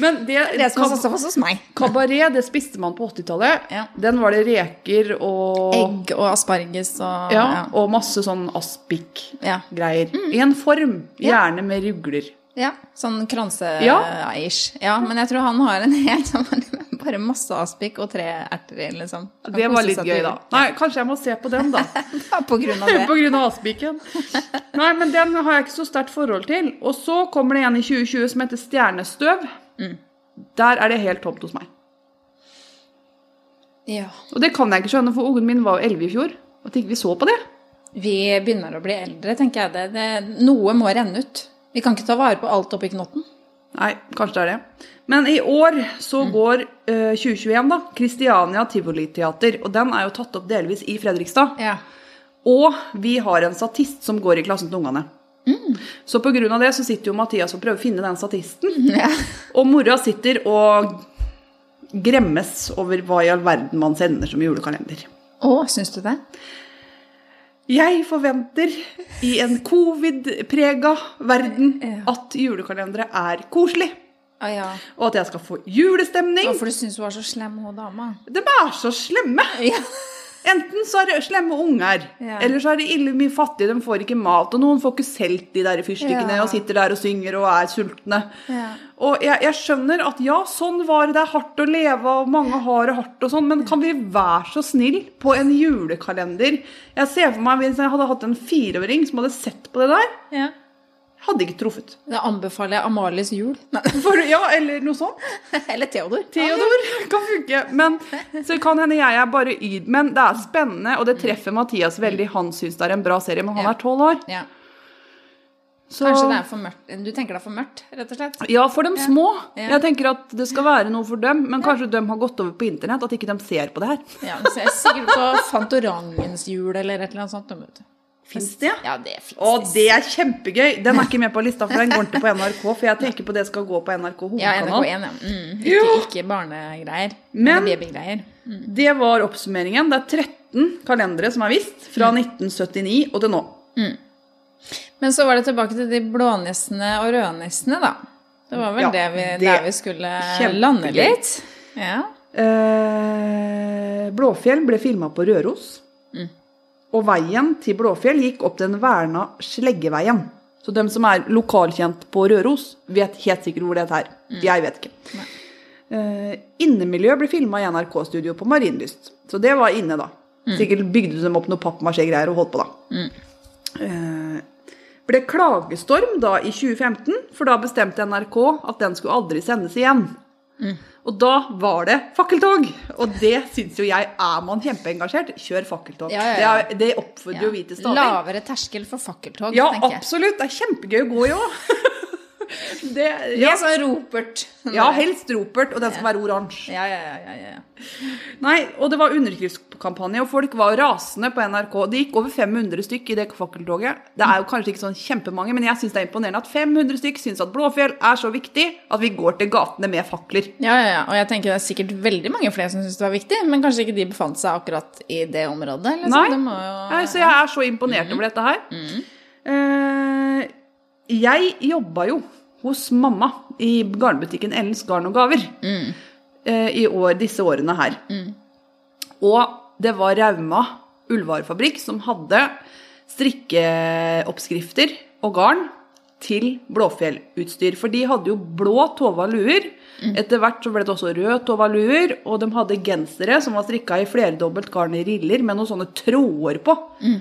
Speaker 2: Men det,
Speaker 1: det
Speaker 2: (laughs)
Speaker 1: som er
Speaker 2: kab
Speaker 1: sånn som hos meg.
Speaker 2: kabaret, det spiste man på 80-tallet.
Speaker 1: Ja.
Speaker 2: Den var det reker og
Speaker 1: Egg og asparges og
Speaker 2: Ja,
Speaker 1: ja.
Speaker 2: og masse sånn
Speaker 1: Ja.
Speaker 2: aspik-greier.
Speaker 1: Mm.
Speaker 2: I en form. Gjerne med rugler.
Speaker 1: ja. Sånn
Speaker 2: Ja.
Speaker 1: kranse-ish. Ja, men jeg tror han har en helt sånn (laughs) bare masse aspik og tre erter i, liksom. Kan
Speaker 2: Det var
Speaker 1: kose
Speaker 2: litt
Speaker 1: seg
Speaker 2: gøy,
Speaker 1: til
Speaker 2: da.
Speaker 1: jul.
Speaker 2: Nei, kanskje jeg må se på
Speaker 1: (laughs)
Speaker 2: den, da.
Speaker 1: Ja, på grunn av
Speaker 2: På (laughs)
Speaker 1: det.
Speaker 2: grunn av Aspiken. Nei, men den har jeg ikke så sterkt forhold til. Og så kommer det en i 2020 som heter Stjernestøv.
Speaker 1: Mm.
Speaker 2: Der er det helt tomt hos meg.
Speaker 1: Ja.
Speaker 2: Og det kan jeg ikke skjønne, for ungen min var jo 11 i fjor. Og tenk, vi så på det.
Speaker 1: Vi begynner å bli eldre, tenker jeg det. det noe må renne ut. Vi kan ikke ta vare på alt oppi knotten.
Speaker 2: Nei, kanskje det er det. Men i år så
Speaker 1: Mm.
Speaker 2: går eh, 2021, da. Kristiania Tivoliteater. Og den er jo tatt opp delvis i Fredrikstad.
Speaker 1: Ja.
Speaker 2: Og vi har en statist som går i klassen til ungene.
Speaker 1: Mm.
Speaker 2: Så på grunn av det så sitter jo Mathias og prøver å finne den statisten.
Speaker 1: (laughs) ja.
Speaker 2: Og mora sitter og gremmes over hva i all verden man sender som julekalender.
Speaker 1: Å, syns du det?
Speaker 2: Jeg forventer i en covid-prega verden
Speaker 1: Ja.
Speaker 2: at julekalendere er koselig,
Speaker 1: Å ja.
Speaker 2: og at jeg skal få julestemning.
Speaker 1: Ja, for du syns hun var så slem, hun dama.
Speaker 2: De er så slemme!
Speaker 1: Ja.
Speaker 2: Enten så er det slemme unger,
Speaker 1: Ja.
Speaker 2: eller så er det ille mye fattige, de får ikke mat, og noen får ikke solgt de der fyrstikkene
Speaker 1: Ja.
Speaker 2: og sitter der og synger og er sultne.
Speaker 1: Ja.
Speaker 2: Og jeg, jeg skjønner at ja, sånn var det, det er hardt å leve, og mange har det hardt og sånn, men kan vi være så snill på en julekalender? Jeg ser for meg hvis jeg hadde hatt en fireåring som hadde sett på det der, hadde ikke truffet.
Speaker 1: Da anbefaler jeg Amalies jul.
Speaker 2: For, ja, eller noe sånt.
Speaker 1: Eller Theodor.
Speaker 2: Theodor kan funke. Men så kan hende jeg er bare yd, men det er spennende, og det treffer Mathias veldig. Han syns det er en bra serie, men han
Speaker 1: Mm. Ja.
Speaker 2: er tolv år.
Speaker 1: Ja.
Speaker 2: Så,
Speaker 1: Kanskje det er for mørkt. Du tenker det er for mørkt, rett og slett?
Speaker 2: Ja, for de små.
Speaker 1: Ja.
Speaker 2: Jeg tenker at det skal være noe for dem, men kanskje de har gått over på internett, at ikke de ser på det her.
Speaker 1: Ja, så jeg er sikkert på Fantorangens jul eller et eller annet sånt. da, vet du.
Speaker 2: Fins det?
Speaker 1: Ja, det fins.
Speaker 2: Å, det er kjempegøy! Den er ikke med på lista, for den går ikke på NRK. For jeg tenker på det skal gå på NRK
Speaker 1: Ja,
Speaker 2: hovedkanal.
Speaker 1: NRK1, ja. Mm,
Speaker 2: Ja.
Speaker 1: ikke, ikke barnegreier.
Speaker 2: Men-
Speaker 1: eller babygreier.
Speaker 2: det var oppsummeringen. Det er 13 kalendere som er vist fra
Speaker 1: Mm.
Speaker 2: 1979 og til nå.
Speaker 1: Men så var det tilbake til de blånissene og rødnissene, da. Det var vel
Speaker 2: Ja,
Speaker 1: det vi,
Speaker 2: det-
Speaker 1: der vi skulle
Speaker 2: Kjempegøy.
Speaker 1: lande litt. Ja.
Speaker 2: Eh, Blåfjell ble filma på Røros. Og veien til Blåfjell gikk opp den verna Sleggeveien. Så de som er lokalkjent på Røros, vet helt sikkert hvor det er. Jeg vet ikke. Eh, innemiljø ble filma i NRK-studio på Marienlyst. Så det var inne, da.
Speaker 1: Mm.
Speaker 2: Sikkert bygde de opp noe pappmasjé-greier og holdt på, da. Eh, ble klagestorm da i 2015, for da bestemte NRK at den skulle aldri sendes igjen.
Speaker 1: Mm.
Speaker 2: Og da var det fakkeltog! Og det syns jo jeg er man kjempeengasjert. Kjør fakkeltog.
Speaker 1: Ja, ja, ja.
Speaker 2: Det, er, det oppfordrer jo vi til stadig.
Speaker 1: Lavere terskel for fakkeltog,
Speaker 2: Ja,
Speaker 1: tenker jeg.
Speaker 2: absolutt. Det er kjempegøy å gå i òg. Det,
Speaker 1: Ja.
Speaker 2: ja.
Speaker 1: Jeg sa Ropert.
Speaker 2: ja, helst ropert, og den skal være oransje.
Speaker 1: Ja, ja, ja, ja, ja, ja.
Speaker 2: Nei, og det var underskriftskampanje, og folk var rasende på NRK. Det gikk over 500 stykk i det fakkeltoget. Det er jo kanskje ikke sånn kjempemange, men jeg syns det er imponerende at 500 stykk syns at Blåfjell er så viktig at vi går til gatene med fakler.
Speaker 1: Ja, ja, ja. Og jeg tenker det er sikkert veldig mange flere som syns det var viktig, men kanskje ikke de befant seg akkurat i det området. Liksom.
Speaker 2: Nei.
Speaker 1: Det må jo... Mm-hmm.
Speaker 2: Nei, så jeg er så imponert over dette her. Eh, jeg jobba jo hos mamma i garnbutikken Ellens Garn og Gaver
Speaker 1: Mm.
Speaker 2: eh, i år, disse årene her. Og det var Rauma ullvarefabrikk som hadde strikkeoppskrifter og garn til Blåfjell-utstyr. For de hadde jo blå Tova-luer. Etter hvert så ble det også rød Tova-luer, og de hadde gensere som var strikka i flerdobbelt garn i riller med noen sånne tråder på. Ehm,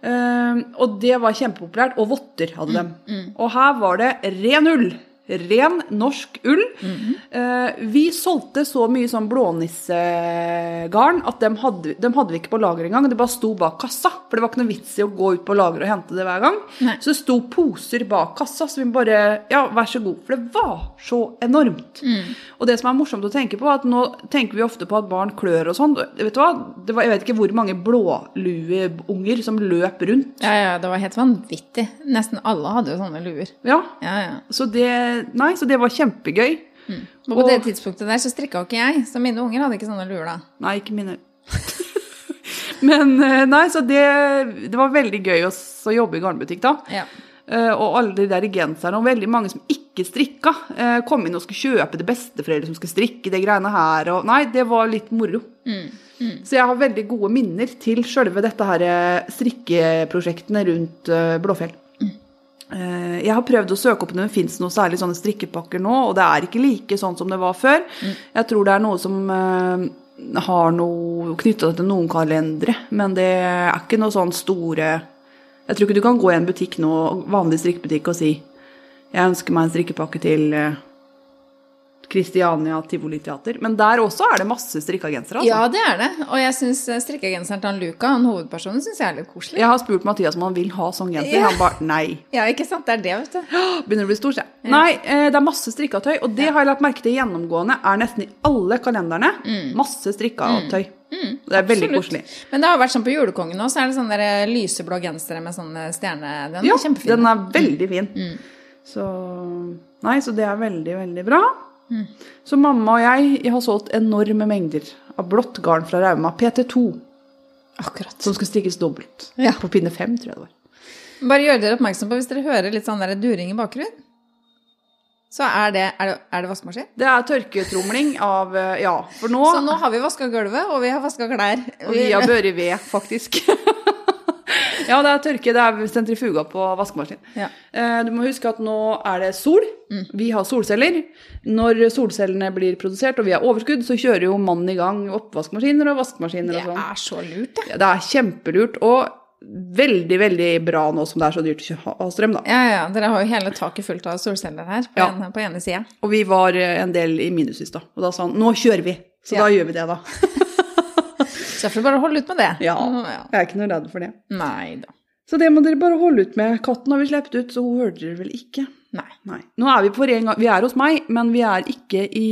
Speaker 2: Eh, og det var kjempepopulært. Og votter hadde de. Og her var det ren ull. ren norsk ull. Eh, vi solgte så mye sånn blånissegarn at dem hadde, dem hadde vi ikke på lager engang. Det bare sto bak kassa, for det var ikke noe vits i å gå ut på lager og hente det hver gang.
Speaker 1: Nei.
Speaker 2: Så det sto poser bak kassa, så vi bare Ja, vær så god. For det var så enormt.
Speaker 1: Mm.
Speaker 2: Og det som er morsomt å tenke på, er at nå tenker vi ofte på at barn klør og sånn. Vet du hva? Det var, jeg vet ikke hvor mange blålueunger som løp rundt.
Speaker 1: Ja, ja, det var helt vanvittig. Nesten alle hadde jo sånne luer.
Speaker 2: Ja,
Speaker 1: Ja, ja.
Speaker 2: så det, nei, så det var kjempegøy.
Speaker 1: Og på
Speaker 2: Og-
Speaker 1: det tidspunktet der så strikka jo ikke jeg, så mine unger hadde ikke sånne luer da.
Speaker 2: Nei, ikke
Speaker 1: (laughs)
Speaker 2: mine. Men eh, nei, så det, det var veldig gøy å, s- å jobbe i garnbutikk da.
Speaker 1: Ja.
Speaker 2: Eh, Og alle de der genserne, og veldig mange som ikke strikka, eh, kom inn og skulle kjøpe det besteforeldre som skulle strikke det greiene her. Og nei, det var litt moro. Så jeg har veldig gode minner til sjølve dette her eh, strikkeprosjektene rundt eh, Blåfjell. Eh, Jeg har prøvd å søke opp om det fins noe særlig sånne strikkepakker nå, og det er ikke like sånn som det var før. Jeg tror det er noe som eh, har noe knytta til noen kalendere, men det er ikke noe sånn store Jeg tror ikke du kan gå i en butikk nå, vanlig strikkebutikk, og si jeg ønsker meg en strikkepakke til eh, Christiania Tivoliteater. Men der også er det masse strikka gensere. altså.
Speaker 1: ja, det er det. Og jeg syns eh, strikkegenseren til han Luca, han hovedpersonen, syns jeg er litt koselig.
Speaker 2: Jeg har spurt Mathias om han vil ha sånn genser.
Speaker 1: Ja.
Speaker 2: Han bare nei.
Speaker 1: Ja, ikke sant? Det er det, vet du.
Speaker 2: Begynner å bli stor, sier jeg. Nei, eh, det er masse strikka tøy. Og det har jeg lagt merke til gjennomgående er nesten i alle kalenderne. Masse strikka tøy. Det er veldig
Speaker 1: Mm. Absolutt.
Speaker 2: koselig.
Speaker 1: Men det har vært sånn på julekongen òg, så er det sånne der eh, lyseblå gensere med sånne stjerne... Den
Speaker 2: Ja,
Speaker 1: er kjempefin. Mm.
Speaker 2: den er veldig fin. Så Nei, så det er veldig, veldig bra.
Speaker 1: Mm.
Speaker 2: Så mamma og jeg, jeg har solgt enorme mengder av blått garn fra Rauma. PT2,
Speaker 1: Akkurat.
Speaker 2: som skulle strikkes dobbelt.
Speaker 1: Ja.
Speaker 2: På pinne fem, tror jeg det var.
Speaker 1: Bare gjør dere oppmerksom på, hvis dere hører litt sånn der during i bakgrunnen, så er det Er det, er det vaskemaskin?
Speaker 2: Det er tørketromling av eh, Ja, for nå
Speaker 1: Så nå har vi vaska gulvet, og vi har vaska klær.
Speaker 2: Og vi har børre ved, faktisk. (laughs) ja, det er tørke. Det er sentrifuga på vaskemaskinen.
Speaker 1: Ja.
Speaker 2: Eh, Du må huske at nå er det sol. Vi har solceller. Når solcellene blir produsert og vi har overskudd, så kjører jo mannen i gang oppvaskmaskiner og vaskemaskiner
Speaker 1: Det
Speaker 2: og sånn.
Speaker 1: er så lurt, det.
Speaker 2: Ja, det er kjempelurt og veldig, veldig bra nå som det er så dyrt å kjø- ha strøm, da.
Speaker 1: Ja, ja. Dere har jo hele taket fullt av solceller her på,
Speaker 2: Ja.
Speaker 1: ene, på ene sida.
Speaker 2: Og vi var eh, en del i minus i stad, og da sa han 'nå kjører vi'. Så
Speaker 1: Ja.
Speaker 2: da gjør vi det, da.
Speaker 1: Så jeg får bare holde ut med det.
Speaker 2: (laughs) Ja.
Speaker 1: Nå,
Speaker 2: Jeg er ikke noe redd for det.
Speaker 1: Nei da.
Speaker 2: Så det må dere bare holde ut med. Katten har vi sluppet ut, så hun hørte dere vel ikke.
Speaker 1: Nei.
Speaker 2: Nei. Nå er vi på ren gang. Vi er hos meg, men vi er ikke i,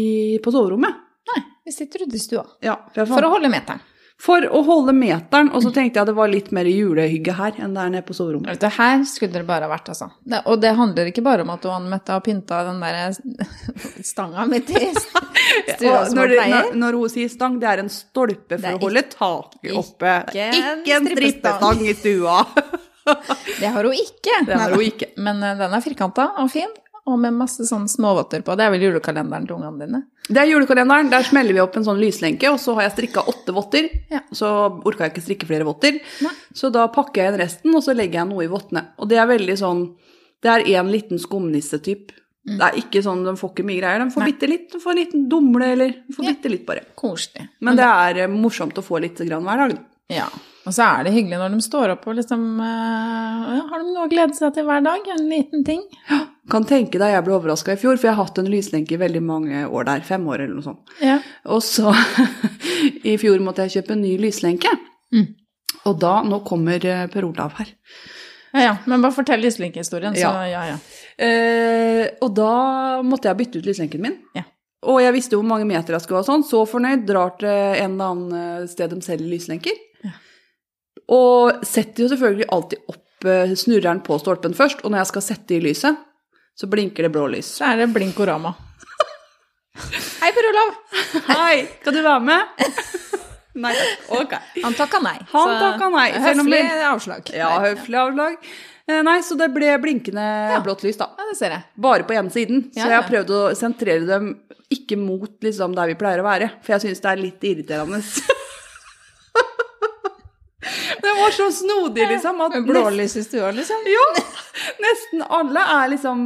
Speaker 2: på soverommet.
Speaker 1: Nei, vi sitter ute i stua.
Speaker 2: Ja, for, jeg fant-
Speaker 1: For å holde meteren.
Speaker 2: for å holde meteren, og så tenkte jeg det var litt mer julehygge her enn der nede på soverommet.
Speaker 1: Vet du, her skulle dere bare ha vært, altså. Det, og det handler ikke bare om at du Ann-Mette har pynta den der (laughs) stanga midt
Speaker 2: (laughs)
Speaker 1: i stua
Speaker 2: Og
Speaker 1: som hun
Speaker 2: når, det,
Speaker 1: pleier.
Speaker 2: når, når hun sier stang, det er en stolpe for
Speaker 1: er
Speaker 2: å holde taket oppe. Det er
Speaker 1: ikke en
Speaker 2: ikke en
Speaker 1: strippestang.
Speaker 2: strippestang i stua.
Speaker 1: Det har hun ikke.
Speaker 2: Det har
Speaker 1: Neida.
Speaker 2: hun ikke.
Speaker 1: Men eh, den er firkanta og fin, og med masse sånn småvotter på. Det er vel julekalenderen til ungene dine?
Speaker 2: Det er julekalenderen. Der smeller vi opp en sånn lyslenke, og så har jeg strikka åtte votter.
Speaker 1: Ja.
Speaker 2: Så orka jeg ikke strikke flere votter.
Speaker 1: Nei.
Speaker 2: Så da pakker jeg inn resten, og så legger jeg noe i vottene. Og det er veldig sånn Det er én liten skumnissetyp. Det er ikke sånn de får ikke mye greier. De får
Speaker 1: Mm. Nei.
Speaker 2: bitte litt. De får en liten dumle, eller de får
Speaker 1: Ja.
Speaker 2: bitte litt, bare.
Speaker 1: Koselig.
Speaker 2: Men det er eh, morsomt å få litt grann hver dag. da.
Speaker 1: Ja. Og så er det hyggelig når de står opp og liksom eh, ja, Har de noe å glede seg til hver dag? En liten ting?
Speaker 2: Kan tenke deg jeg ble overraska i fjor, for jeg har hatt en lyslenke i veldig mange år der. Fem år, eller noe sånt.
Speaker 1: Ja.
Speaker 2: Og så (laughs) i fjor måtte jeg kjøpe en ny lyslenke.
Speaker 1: Mm.
Speaker 2: Og da Nå kommer eh, Per Olav her.
Speaker 1: ja, ja. Men bare fortell lyslinkehistorien, så
Speaker 2: Ja.
Speaker 1: ja, ja.
Speaker 2: Eh, og da måtte jeg bytte ut lyslenken min.
Speaker 1: Ja.
Speaker 2: Og jeg visste hvor mange meter jeg skulle ha sånn. Så fornøyd drar til en eller annen eh, sted de selger lyslenker. Og setter jo selvfølgelig alltid opp eh, snurreren på stolpen først. Og når jeg skal sette i lyset, så blinker det blå lys.
Speaker 1: (laughs) Så er det blinkorama. Hei, Per Olav.
Speaker 2: Hei, skal du være
Speaker 1: (laughs)
Speaker 2: med? Nei takk. Ok.
Speaker 1: Han takka nei.
Speaker 2: Han
Speaker 1: så
Speaker 2: takka nei, selv om
Speaker 1: Høflig
Speaker 2: det-
Speaker 1: avslag.
Speaker 2: Ja,
Speaker 1: Nei.
Speaker 2: høflig avlag. Eh, Nei, så det ble blinkende blått lys, da.
Speaker 1: ja, det ser jeg.
Speaker 2: Bare på ene siden. Så
Speaker 1: Ja,
Speaker 2: jeg har
Speaker 1: ja.
Speaker 2: prøvd å sentrere dem ikke mot liksom, der vi pleier å være, for jeg syns det er litt irriterende. (laughs) det var så snodig, liksom. At
Speaker 1: Med blålys i stua, liksom.
Speaker 2: Nesten, ja, nesten alle er liksom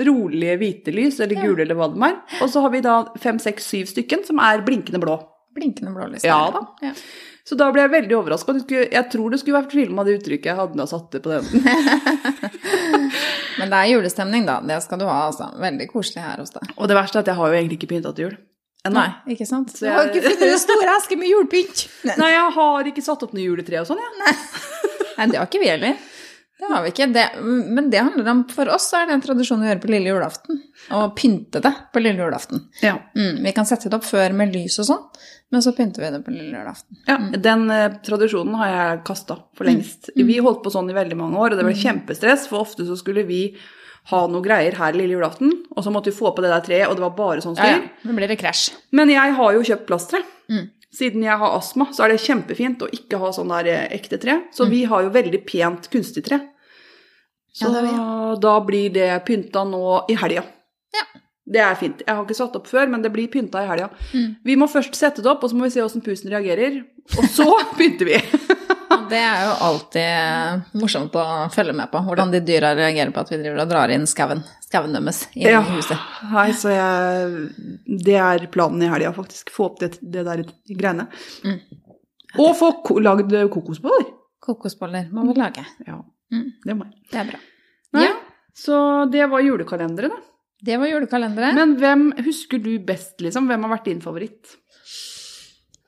Speaker 2: rolige hvite lys, eller gule, eller hva det er. Og så har vi da fem, seks, syv stykken som er blinkende blå.
Speaker 1: Blinkende blålys.
Speaker 2: Ja da.
Speaker 1: Ja.
Speaker 2: Så da ble jeg veldig overraska. Jeg tror det skulle vært filma det uttrykket jeg hadde da jeg satte på den.
Speaker 1: Men det er julestemning, da. Det skal du ha, altså. Veldig koselig her hos deg.
Speaker 2: (laughs) Og det verste er at jeg har jo egentlig ikke pynta til jul. Ennå.
Speaker 1: Nei, ikke sant?
Speaker 2: Så
Speaker 1: Du har
Speaker 2: jeg-
Speaker 1: ikke funnet den store eske med julepynt! Nei,
Speaker 2: Nei, jeg har ikke satt opp noe juletre og sånn, jeg.
Speaker 1: det har ikke vi heller. Det har vi ikke. Det, men det handler om For oss så er det en tradisjon å gjøre på lille julaften. Å pynte det på lille julaften.
Speaker 2: Ja.
Speaker 1: Mm, vi kan sette det opp før med lys og sånn, men så pynter vi det på lille julaften.
Speaker 2: Ja, Den eh, tradisjonen har jeg kasta for lengst. Vi holdt på sånn i veldig mange år, og det ble kjempestress, for ofte så skulle vi ha noe greier her lille julaften, og så måtte vi få på det der treet, og det var bare sånn
Speaker 1: Ja,
Speaker 2: styr.
Speaker 1: ja. Nå blir det krasj.
Speaker 2: Men jeg har jo kjøpt plasttre.
Speaker 1: Mm.
Speaker 2: Siden jeg har astma, så er det kjempefint å ikke ha sånn der eh, ekte tre. Så vi har jo veldig pent kunstig tre. Så
Speaker 1: Mm. Ja, det har vi,
Speaker 2: da blir det pynta nå i helga.
Speaker 1: Ja.
Speaker 2: Det er fint. Jeg har ikke satt opp før, men det blir pynta i helga.
Speaker 1: Mm.
Speaker 2: Vi må først sette det opp, og så må vi se åssen pusen reagerer. Og så
Speaker 1: (laughs)
Speaker 2: pynter vi.
Speaker 1: Og Det er jo alltid morsomt å følge med på, hvordan de dyra reagerer på at vi driver og drar inn skauen. Skauen deres inn i huset.
Speaker 2: Nei, så jeg, det er planen i helga, faktisk. Få opp det, det der greiene.
Speaker 1: Mm.
Speaker 2: Og få ko lagd kokosboller.
Speaker 1: Kokosboller må vi lage.
Speaker 2: Ja,
Speaker 1: Mm.
Speaker 2: det må jeg.
Speaker 1: Det er bra.
Speaker 2: Nei.
Speaker 1: Ja,
Speaker 2: Så det var julekalenderet, da.
Speaker 1: det var julekalenderen.
Speaker 2: Men hvem husker du best, liksom? Hvem har vært din favoritt?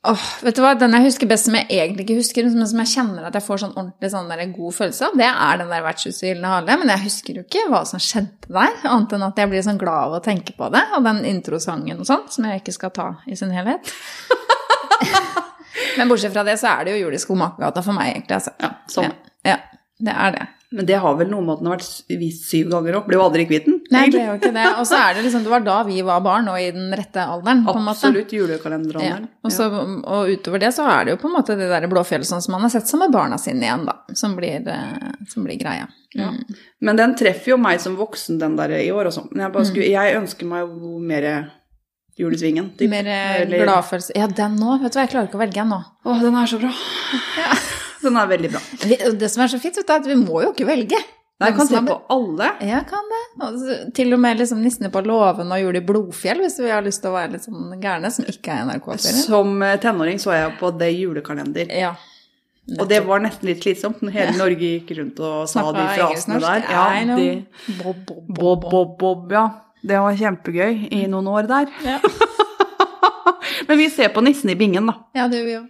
Speaker 1: Åh, vet du hva, Den jeg husker best, som jeg egentlig ikke husker, men som jeg kjenner at jeg får sånn ordentlig sånn der god følelse av, det er den der vertshuset i Gylne hale. Men jeg husker jo ikke hva som skjedde der, annet enn at jeg blir sånn glad av å tenke på det. Og den introsangen og sånt, som jeg ikke skal ta i sin helhet. (laughs) men bortsett fra det, så er det jo jul i Skomakergata for meg, egentlig. Altså.
Speaker 2: Ja, sånn.
Speaker 1: Ja, ja, det er det.
Speaker 2: Men det har vel noe med at den har vært s- vist syv ganger òg. Ble jo aldri kvitt den.
Speaker 1: Nei, det
Speaker 2: egentlig.
Speaker 1: er jo ikke det. Og så er det liksom, det var da vi var barn, og i den rette alderen, på en måte.
Speaker 2: Absolutt
Speaker 1: Ja.
Speaker 2: julekalenderen.
Speaker 1: Og, så, og utover det så er det jo på en måte de der blåfjellene som man har sett sammen med barna sine igjen, da. Som blir, eh, som blir greia.
Speaker 2: Ja.
Speaker 1: Mm.
Speaker 2: Men den treffer jo meg som voksen, den der i år og sånn. Men jeg,
Speaker 1: Mm.
Speaker 2: bare skulle, jeg ønsker meg jo mer julesvingen. typ.
Speaker 1: Mer eh,
Speaker 2: Eller-
Speaker 1: gladfølelse. Ja, den nå. Vet du hva, jeg klarer ikke å velge den nå.
Speaker 2: Å, den er så bra. (laughs) Den er veldig bra.
Speaker 1: Vi- og Det som er så fint, vet du, er at vi må jo ikke velge.
Speaker 2: Nei, jeg kan
Speaker 1: Den
Speaker 2: se
Speaker 1: som er-
Speaker 2: på alle.
Speaker 1: Ja, kan det. Og så- til og med liksom Nissene på låven og Jul i Blodfjell, hvis vi har lyst til å være litt sånn gærne, som ikke er NRK-serien.
Speaker 2: Som eh, tenåring så jeg på The Julekalender.
Speaker 1: Ja.
Speaker 2: Og det var nesten litt slitsomt når hele Norge gikk rundt og sa de
Speaker 1: Snakket
Speaker 2: frasene
Speaker 1: engelsk-norsk.
Speaker 2: der.
Speaker 1: I know.
Speaker 2: Ja, de,
Speaker 1: Bob, bob, bob, Mm.
Speaker 2: bob, bob, bob, ja. Det var kjempegøy i noen år der.
Speaker 1: Ja.
Speaker 2: Men vi ser på nissen i bingen, da.
Speaker 1: ja, det gjør vi jo.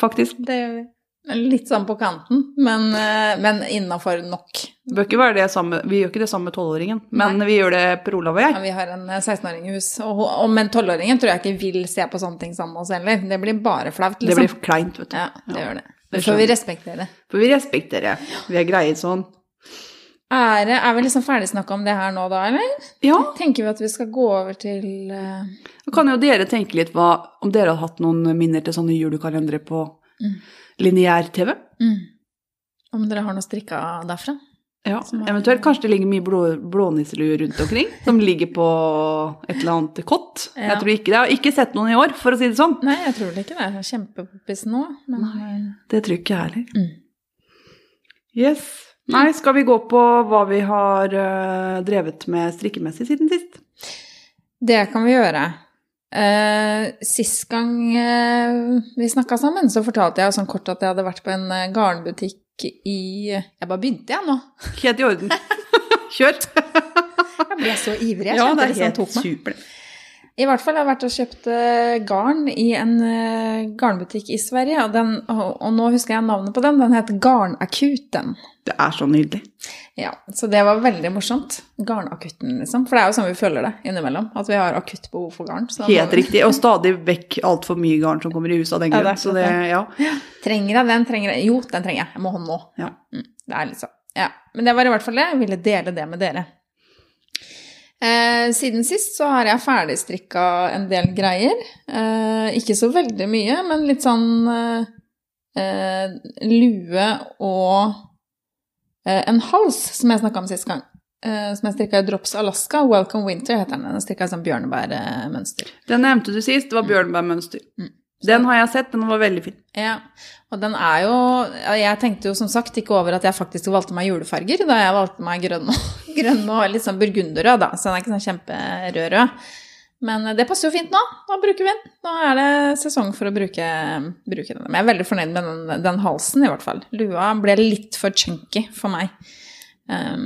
Speaker 2: Faktisk.
Speaker 1: Det gjør vi. Litt sånn på kanten, men, eh, men innafor nok.
Speaker 2: Det bør ikke være det samme. Vi gjør ikke det samme med tolvåringen, men vi gjør det Per Olav og
Speaker 1: Ja,
Speaker 2: jeg.
Speaker 1: vi har en eh, 16-åring i hus, og, hun- og, men 12-åringen tror jeg ikke vil se på sånne ting sammen med oss heller. Det blir bare flaut,
Speaker 2: Det
Speaker 1: liksom.
Speaker 2: blir for kleint, vet du.
Speaker 1: Ja, det gjør det. Det
Speaker 2: det
Speaker 1: får vi
Speaker 2: skjønner.
Speaker 1: respektere.
Speaker 2: For vi respekterer. Vi er greie sånn.
Speaker 1: Er, er vi liksom ferdig snakka om det her nå, da, eller?
Speaker 2: Ja,
Speaker 1: Tenker vi at vi skal gå over til eh,
Speaker 2: Da kan jo dere tenke litt hva, om dere hadde hatt noen minner til sånne julekalendere på
Speaker 1: Mm.
Speaker 2: lineær-TV.
Speaker 1: mm, Om dere har noe strikka derfra?
Speaker 2: Ja,
Speaker 1: Som er-
Speaker 2: Eventuelt kanskje det ligger mye blå, blånisselue rundt omkring, som ligger på et eller annet kott.
Speaker 1: Ja.
Speaker 2: Jeg tror ikke det. Jeg har ikke sett noen i år, for å si det sånn.
Speaker 1: Nei, jeg tror det ikke det. Jeg er kjempepoppis nå, men
Speaker 2: Det tror ikke jeg heller.
Speaker 1: Mm.
Speaker 2: Yes. Nei, skal vi gå på hva vi har eh, drevet med strikkemessig siden sist?
Speaker 1: Det kan vi gjøre. Eh, sist gang eh, vi snakka sammen, så fortalte jeg jo sånn kort at jeg hadde vært på en eh, garnbutikk i Jeg bare begynte, jeg nå.
Speaker 2: Helt i orden. (laughs) Kjør.
Speaker 1: Jeg ble så ivrig. Jeg
Speaker 2: ja,
Speaker 1: kjente
Speaker 2: det
Speaker 1: det
Speaker 2: er
Speaker 1: som
Speaker 2: helt
Speaker 1: tok meg.
Speaker 2: supert.
Speaker 1: I hvert fall jeg har vært og kjøpt eh, garn i en eh, garnbutikk i Sverige, og, den, og, og nå husker jeg navnet på den. Den het Garnakuten.
Speaker 2: Det er så nydelig.
Speaker 1: Ja, så det var veldig morsomt. Garnakutten, liksom. For det er jo sånn vi føler det innimellom. At vi har akutt behov for garn. så da må
Speaker 2: Helt
Speaker 1: vi-
Speaker 2: riktig. Og stadig vekk altfor mye garn som kommer i huset av den
Speaker 1: Ja, det er
Speaker 2: grunn. Så det, ja.
Speaker 1: Trenger jeg den? Trenger jeg? Jo, den trenger jeg. Jeg må ha den nå.
Speaker 2: Ja.
Speaker 1: Mm, det er litt sånn. Ja. Men det var i hvert fall det. Jeg ville dele det med dere. Eh, siden sist så har jeg ferdigstrikka en del greier. Eh, ikke så veldig mye, men litt sånn eh, eh, lue og eh, en hals, som jeg snakka om sist gang. Eh, som jeg strikka i Drops Alaska. Welcome Winter heter den. Den strikka i sånn bjørnebærmønster.
Speaker 2: Den nevnte du sist, det var bjørnebærmønster.
Speaker 1: Mm.
Speaker 2: Den har jeg sett, den var veldig fin.
Speaker 1: Ja, og den er jo ja, Jeg tenkte jo som sagt ikke over at jeg faktisk valgte meg julefarger, da jeg valgte meg grønn og, (laughs) grønn og litt sånn burgunderrød, da. Så den er ikke sånn kjemperød-rød. Men eh, det passer jo fint nå. Nå bruker vi den. Nå er det sesong for å bruke, bruke den. Men jeg er veldig fornøyd med den, den halsen, i hvert fall. Lua ble litt for chunky for meg. Eh, Um,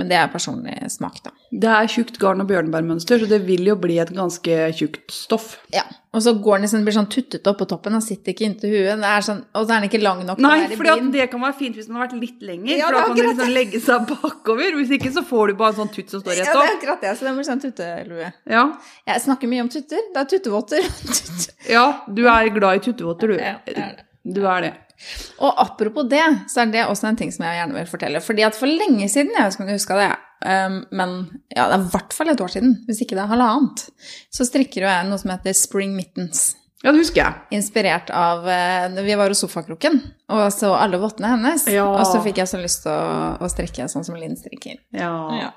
Speaker 1: men det er personlig smak, da.
Speaker 2: Det er tjukt garn og bjørnebærmønster, så det vil jo bli et ganske tjukt stoff.
Speaker 1: Ja. Og så går den liksom, blir sånn tuttete oppå toppen og sitter ikke inntil huet. Det er sånn, og så er den ikke lang nok til å
Speaker 2: Nei,
Speaker 1: være i
Speaker 2: for
Speaker 1: bind.
Speaker 2: det kan være fint hvis den har vært litt lenger,
Speaker 1: Ja, det
Speaker 2: for
Speaker 1: er
Speaker 2: da kan den
Speaker 1: akkurat
Speaker 2: liksom legge seg bakover. Hvis ikke så får du bare en sånn tutt som står
Speaker 1: Ja,
Speaker 2: rett
Speaker 1: det er
Speaker 2: opp.
Speaker 1: akkurat det. Så det blir sånn tuttelue.
Speaker 2: Ja,
Speaker 1: Jeg snakker mye om tutter. Det er tuttevotter. Tutt.
Speaker 2: ja du er glad i tuttevotter, du.
Speaker 1: Ja, jeg er det.
Speaker 2: Du er det.
Speaker 1: Og apropos det, så er det også en ting som jeg gjerne vil fortelle. Fordi at for lenge siden, jeg skal ikke huske det, um, men ja, det er i hvert fall et år siden, hvis ikke det er halvannet, så strikker jo jeg noe som heter spring mittens.
Speaker 2: Ja, det husker jeg.
Speaker 1: Inspirert av eh, Vi var hos Sofakroken og så alle vottene hennes.
Speaker 2: Ja.
Speaker 1: Og så fikk jeg så lyst til å, å strikke sånn som Linn strikker.
Speaker 2: Ja.
Speaker 1: Ja.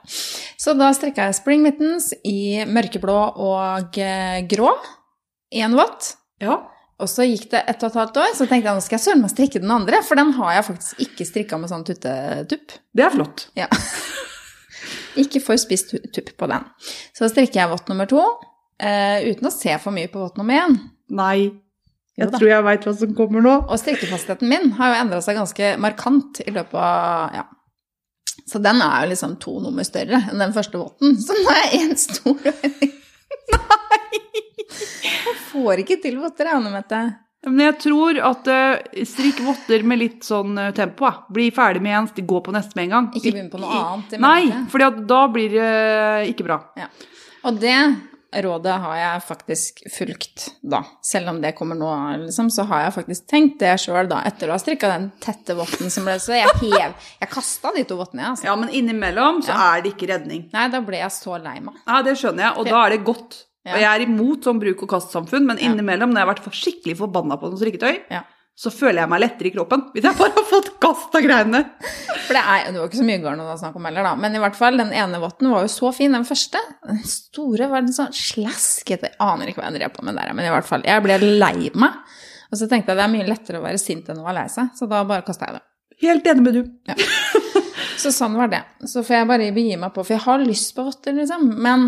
Speaker 1: Så da strikka jeg spring mittens i mørkeblå og eh, grå. Én vott.
Speaker 2: ja.
Speaker 1: Og så gikk det ett og et halvt år, så tenkte jeg nå skal jeg søren meg strikke den andre, for den har jeg faktisk ikke strikka med sånn tuttetupp.
Speaker 2: Det er flott.
Speaker 1: Ja. ikke for spist tu- tupp på den. Så strikker jeg vått nummer to, eh, uten å se for mye på vått nummer én.
Speaker 2: Nei,
Speaker 1: Jo
Speaker 2: jeg
Speaker 1: da.
Speaker 2: tror jeg veit hva som kommer nå.
Speaker 1: Og strikkefastheten min har jo endra seg ganske markant i løpet av ja. Så den er jo liksom to nummer større enn den første votten. Så nå er jeg én stor (laughs) Nei! Jeg får ikke til votter, jeg, Anne Mette.
Speaker 2: Men jeg tror at eh, strikk votter med litt sånn eh, tempo. ja. Bli ferdig med en, sti- gå på neste med en gang.
Speaker 1: Ikke begynne på noe annet. i
Speaker 2: Nei,
Speaker 1: mellomtiden.
Speaker 2: for da blir det eh, ikke bra.
Speaker 1: Og det rådet har jeg faktisk fulgt da. Selv om det kommer nå, liksom, så har jeg faktisk tenkt det sjøl da, etter å ha strikka den tette votten som ble så Jeg hev Jeg kasta de to vottene, jeg, altså.
Speaker 2: Ja, men innimellom så er det ikke redning.
Speaker 1: Nei, da ble jeg så lei meg.
Speaker 2: Ja, det skjønner jeg, og da er det godt.
Speaker 1: Ja.
Speaker 2: Og jeg er imot sånn bruk og kast-samfunn, men innimellom når jeg har vært for- skikkelig forbanna på noe strikketøy,
Speaker 1: Ja.
Speaker 2: så føler jeg meg lettere i kroppen hvis jeg bare har fått kasta greiene.
Speaker 1: For det, er, det var ikke så mye garn å snakke om heller, da. Men i hvert fall, den ene votten var jo så fin, den første. Den store var en sånn slaskete Jeg aner ikke hva jeg drev på med der, men i hvert fall. Jeg ble lei meg. Og så tenkte jeg det er mye lettere å være sint enn å være lei seg, så da bare kasta jeg det.
Speaker 2: Helt enig med du.
Speaker 1: Så sånn var det. Så får jeg bare begi meg på, for jeg har lyst på votter, liksom. Men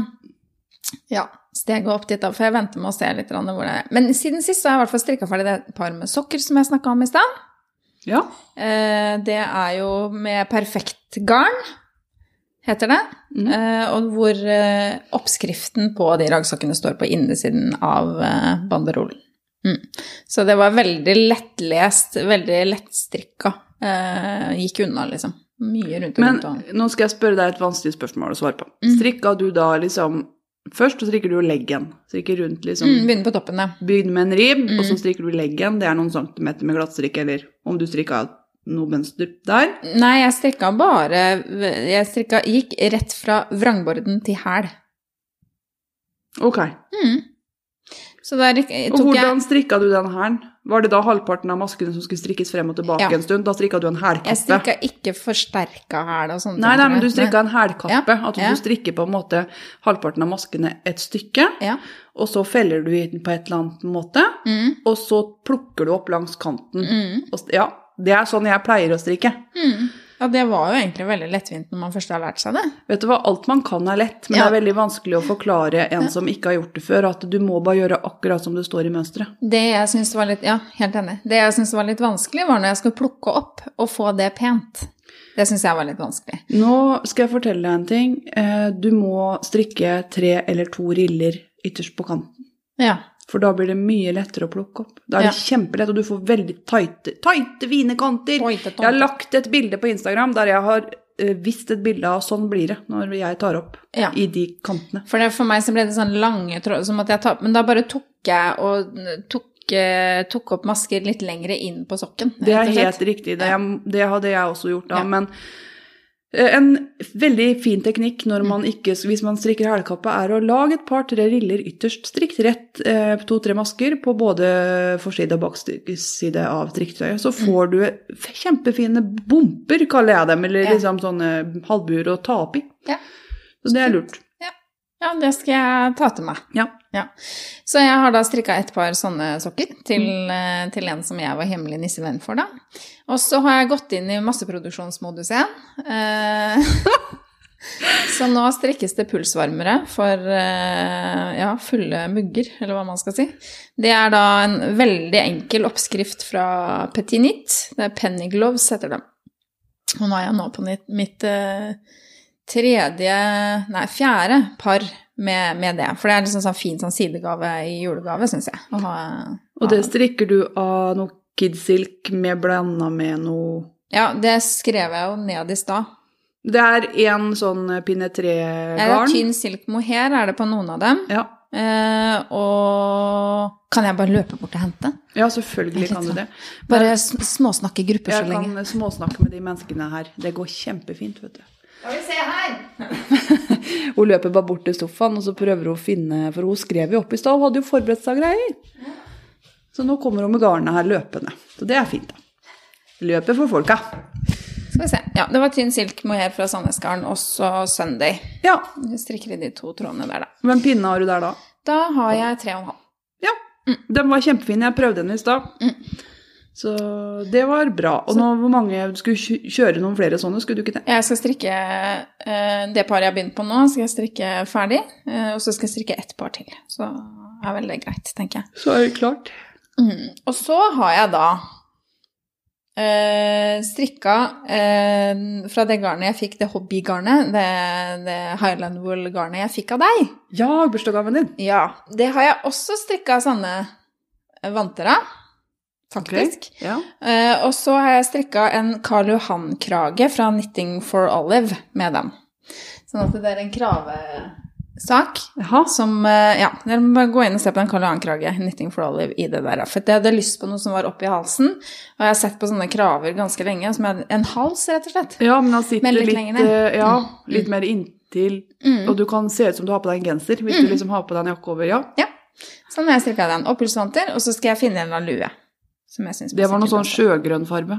Speaker 1: ja, steget opp dit, da. For jeg venter med å se litt grann hvor det er. Men siden sist så har jeg i hvert fall strikka ferdig det par med sokker som jeg snakka om i stad.
Speaker 2: Ja.
Speaker 1: Eh, Det er jo med perfekt garn, heter det.
Speaker 2: Mhm.
Speaker 1: Eh, Og hvor eh, oppskriften på de ragsokkene står på innesiden av eh, banderollen. Mm. Så det var veldig lettlest, veldig lettstrikka. Eh, Gikk unna, liksom. Mye rundt og
Speaker 2: Men
Speaker 1: rundt. og-
Speaker 2: nå skal jeg spørre deg et vanskelig spørsmål å svare på. Strikka du da liksom Først så strikker du jo leggen. Strikker rundt liksom
Speaker 1: Mm, Begynner på toppen, ja.
Speaker 2: Bygd med en ribb,
Speaker 1: Mm.
Speaker 2: og så strikker du leggen. Det er noen centimeter med glattstrikk, eller om du strikka noe mønster der.
Speaker 1: Nei, jeg strikka bare Jeg strikka, gikk rett fra vrangborden til hæl.
Speaker 2: Ok.
Speaker 1: Mm. Så da rik-
Speaker 2: Og
Speaker 1: tok jeg
Speaker 2: hvordan strikka du den hælen? Var det da halvparten av maskene som skulle strikkes frem og tilbake
Speaker 1: Ja.
Speaker 2: en stund? Da strikka du en
Speaker 1: Jeg
Speaker 2: hælkappe.
Speaker 1: strikka ikke forsterka hæl og sånne
Speaker 2: Nei, nei,
Speaker 1: tror
Speaker 2: men du
Speaker 1: jeg.
Speaker 2: strikka en hælkappe. At
Speaker 1: ja.
Speaker 2: du strikker på en måte halvparten av maskene et stykke,
Speaker 1: Ja.
Speaker 2: og så feller du i den på et eller annet måte,
Speaker 1: Mm,
Speaker 2: og så plukker du opp langs kanten.
Speaker 1: mm,
Speaker 2: Og st- Ja, det er sånn jeg pleier å strikke.
Speaker 1: mm. Ja, det var jo egentlig veldig lettvint når man først har lært seg det.
Speaker 2: Vet du hva, alt man kan er lett, men
Speaker 1: Ja.
Speaker 2: det er veldig vanskelig å forklare en som ikke har gjort det før, at du må bare gjøre akkurat som det står i mønsteret.
Speaker 1: Det jeg syns var litt Ja, helt enig. Det jeg syntes var litt vanskelig, var når jeg skulle plukke opp og få det pent. Det syns jeg var litt vanskelig.
Speaker 2: Nå skal jeg fortelle deg en ting. Eh, Du må strikke tre eller to riller ytterst på kanten.
Speaker 1: Ja.
Speaker 2: For da blir det mye lettere å plukke opp. Da er det kjempelett, og du får veldig tighte, tighte fine kanter.
Speaker 1: Pointet,
Speaker 2: Jeg har lagt et bilde på Instagram der jeg har eh, visst et bilde av sånn blir det når jeg tar opp
Speaker 1: Ja.
Speaker 2: i de kantene.
Speaker 1: For, det, for meg så ble det sånn lange tråder, som at jeg tar Men da bare tok jeg og tok, eh, tok opp masker litt lengre inn på sokken.
Speaker 2: Det
Speaker 1: rett
Speaker 2: er
Speaker 1: og slett.
Speaker 2: helt riktig. Det, det hadde jeg også gjort da.
Speaker 1: Ja.
Speaker 2: Men eh, en veldig fin teknikk når man
Speaker 1: Mm.
Speaker 2: ikke, hvis man strikker hælkappe, er å lage et par-tre riller ytterst. Strikk rett eh, to-tre masker på både forside og bakside av strikketøyet.
Speaker 1: Mm.
Speaker 2: Så får du f- kjempefine bomper, kaller jeg dem, eller
Speaker 1: Ja.
Speaker 2: liksom sånne halvbuer å ta opp i.
Speaker 1: Ja.
Speaker 2: Så det er lurt.
Speaker 1: Ja, det skal jeg ta til meg.
Speaker 2: Ja.
Speaker 1: Så jeg har da strikka et par sånne sokker til, eh, til en som jeg var hemmelig nissevenn for, da. Og så har jeg gått inn i masseproduksjonsmodus igjen. Eh, (laughs) så nå strikkes det pulsvarmere for eh, ja, fulle mugger, eller hva man skal si. Det er da en veldig enkel oppskrift fra Petit Nit. Det er Penny Gloves, heter det. Og nå er jeg nå på mitt, mitt eh, tredje, nei, fjerde par med, med det. For det er liksom sånn fin sånn sidegave i julegave, syns jeg. å ha-
Speaker 2: Og det strikker du av noe kidsilk med blanda med noe
Speaker 1: Ja, det skrev jeg jo ned i stad.
Speaker 2: Det er en sånn
Speaker 1: Er det
Speaker 2: pinnetre-garn.
Speaker 1: tynn silk mohair er det på noen av dem.
Speaker 2: Ja.
Speaker 1: Eh, og kan jeg bare løpe bort og hente?
Speaker 2: ja,
Speaker 1: Det
Speaker 2: selvfølgelig
Speaker 1: er litt
Speaker 2: kan du
Speaker 1: sånn.
Speaker 2: det.
Speaker 1: Bare sm- småsnakke i grupper så
Speaker 2: Jeg
Speaker 1: lenge.
Speaker 2: kan småsnakke med de menneskene her. Det går kjempefint, vet du.
Speaker 1: Skal vi se her!
Speaker 2: Hun løper bare bort til sofaen, og så prøver hun å finne For hun skrev jo opp i stad, hun hadde jo forberedt seg greier. Så nå kommer hun med garnet her løpende. Så det er fint, da. Løper for folka.
Speaker 1: Skal vi se. Ja, det var tynn silk mohair fra Sandnesgarden, også Sunday.
Speaker 2: Ja,
Speaker 1: Vi strikker i de to trådene der, da.
Speaker 2: men pinna har du der, da?
Speaker 1: Da har jeg tre og en halv.
Speaker 2: Ja. Den var kjempefin. Jeg prøvde den i stad. Så det var bra. Og nå, hvor mange skulle kjø- kjøre noen flere sånne? Skulle du ikke det?
Speaker 1: Jeg skal strikke eh, det paret jeg har begynt på nå, skal jeg strikke ferdig. eh, og så skal jeg strikke ett par til. Så er vel det greit, tenker jeg.
Speaker 2: Så er det klart.
Speaker 1: Mm. Og så har jeg da eh, strikka eh, fra det garnet jeg fikk, det hobbygarnet, det, det Highland Wool-garnet jeg fikk av deg.
Speaker 2: Ja, bursdagsgaven din.
Speaker 1: Ja, det har jeg også strikka sånne vanter av, faktisk.
Speaker 2: Ja.
Speaker 1: Eh, og så har jeg strikka en Karl Johan-krage fra Knitting for Olive med den. Sånn at det er en kravesak
Speaker 2: Jaha.
Speaker 1: som eh, Ja, dere må bare gå inn og se på den Karl Johan-krage, Knitting for Olive, i det der. For jeg hadde lyst på noe som var oppi halsen, og jeg har sett på sånne kraver ganske lenge. Som er en hals, rett og slett.
Speaker 2: Ja, men han sitter
Speaker 1: Men litt
Speaker 2: litt,
Speaker 1: lenger ned.
Speaker 2: eh, ja, litt mer inntil.
Speaker 1: Mm.
Speaker 2: Og du kan se ut som du har på deg en genser hvis du liksom har på deg en jakke over. Ja,
Speaker 1: Ja. Sånn har jeg strikka den. Og pulsvanter. Og så skal jeg finne en eller annen lue. Som jeg syns
Speaker 2: Det var noe sånn sjøgrønn farbe.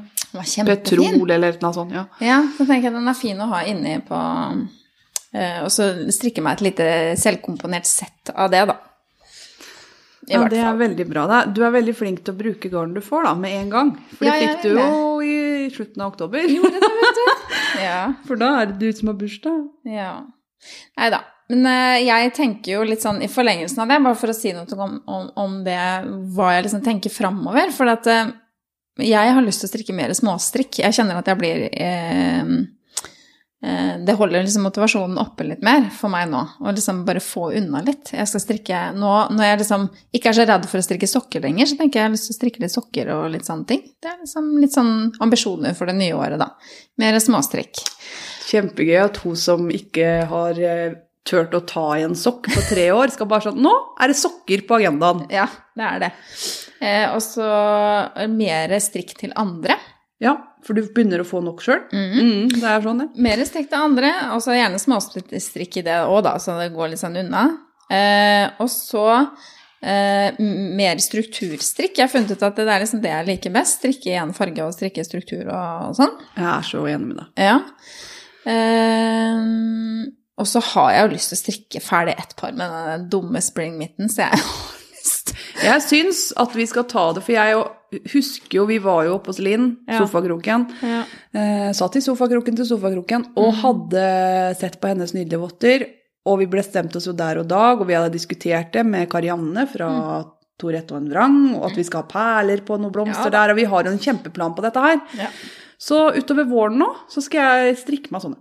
Speaker 2: Petrol eller noe sånt. Ja.
Speaker 1: Ja, så tenker jeg den er fin å ha inni på eh, Og så strikke meg et lite selvkomponert sett av det, da. I
Speaker 2: ja,
Speaker 1: hvert
Speaker 2: det er
Speaker 1: fall.
Speaker 2: veldig bra. da. Du er veldig flink til å bruke garn du får, da, med en gang. For
Speaker 1: Ja,
Speaker 2: det
Speaker 1: jeg
Speaker 2: fikk du
Speaker 1: vil
Speaker 2: jo i slutten av oktober.
Speaker 1: Ja,
Speaker 2: (laughs) For da er det du som har bursdag.
Speaker 1: ja. Nei da. Men eh, jeg tenker jo litt sånn i forlengelsen av det, bare for å si noe til om, om, om det, hva jeg liksom tenker framover. For at eh, jeg har lyst til å strikke mer småstrikk. Jeg kjenner at jeg blir eh, eh, Det holder liksom motivasjonen oppe litt mer for meg nå. Å liksom bare få unna litt. Jeg skal strikke nå når jeg liksom ikke er så redd for å strikke sokker lenger, så tenker jeg jeg har lyst til å strikke litt sokker og litt sånne ting. Det er liksom litt sånn ambisjoner for det nye året, da. Mer småstrikk.
Speaker 2: Kjempegøy at hun som ikke har eh, turt å ta i en sokk på tre år, skal bare sånn Nå er det sokker på agendaen!
Speaker 1: Ja, det er det. Eh, og så mer strikk til andre.
Speaker 2: Ja, for du begynner å få nok sjøl.
Speaker 1: Mhm.
Speaker 2: Mm, det er sånn, det.
Speaker 1: Mer strikk til andre, og så gjerne småstrikk i det òg, da, så det går litt sånn unna. Eh, og så eh, m- mer strukturstrikk. Jeg har funnet ut at det er liksom det jeg liker best. Strikke i én farge og strikke struktur og, og sånn.
Speaker 2: Jeg er så enig med deg.
Speaker 1: Ja. Eh, og så har jeg jo lyst til å strikke ferdig ett par med den dumme spring mitten, så jeg har lyst
Speaker 2: Jeg syns at vi skal ta det, for jeg jo- husker jo Vi var jo oppe hos Linn,
Speaker 1: Ja.
Speaker 2: sofakroken.
Speaker 1: ja.
Speaker 2: Eh, satt i sofakroken til sofakroken
Speaker 1: Mm.
Speaker 2: og hadde sett på hennes nydelige votter. Og vi bestemte oss jo der og dag, og vi hadde diskutert det med Karianne fra Tor Ett og en vrang, og at vi skal ha perler på noen blomster
Speaker 1: Mm. Ja da.
Speaker 2: der, og vi har jo en kjempeplan på dette her.
Speaker 1: Ja.
Speaker 2: Så utover våren nå så skal jeg strikke meg sånne.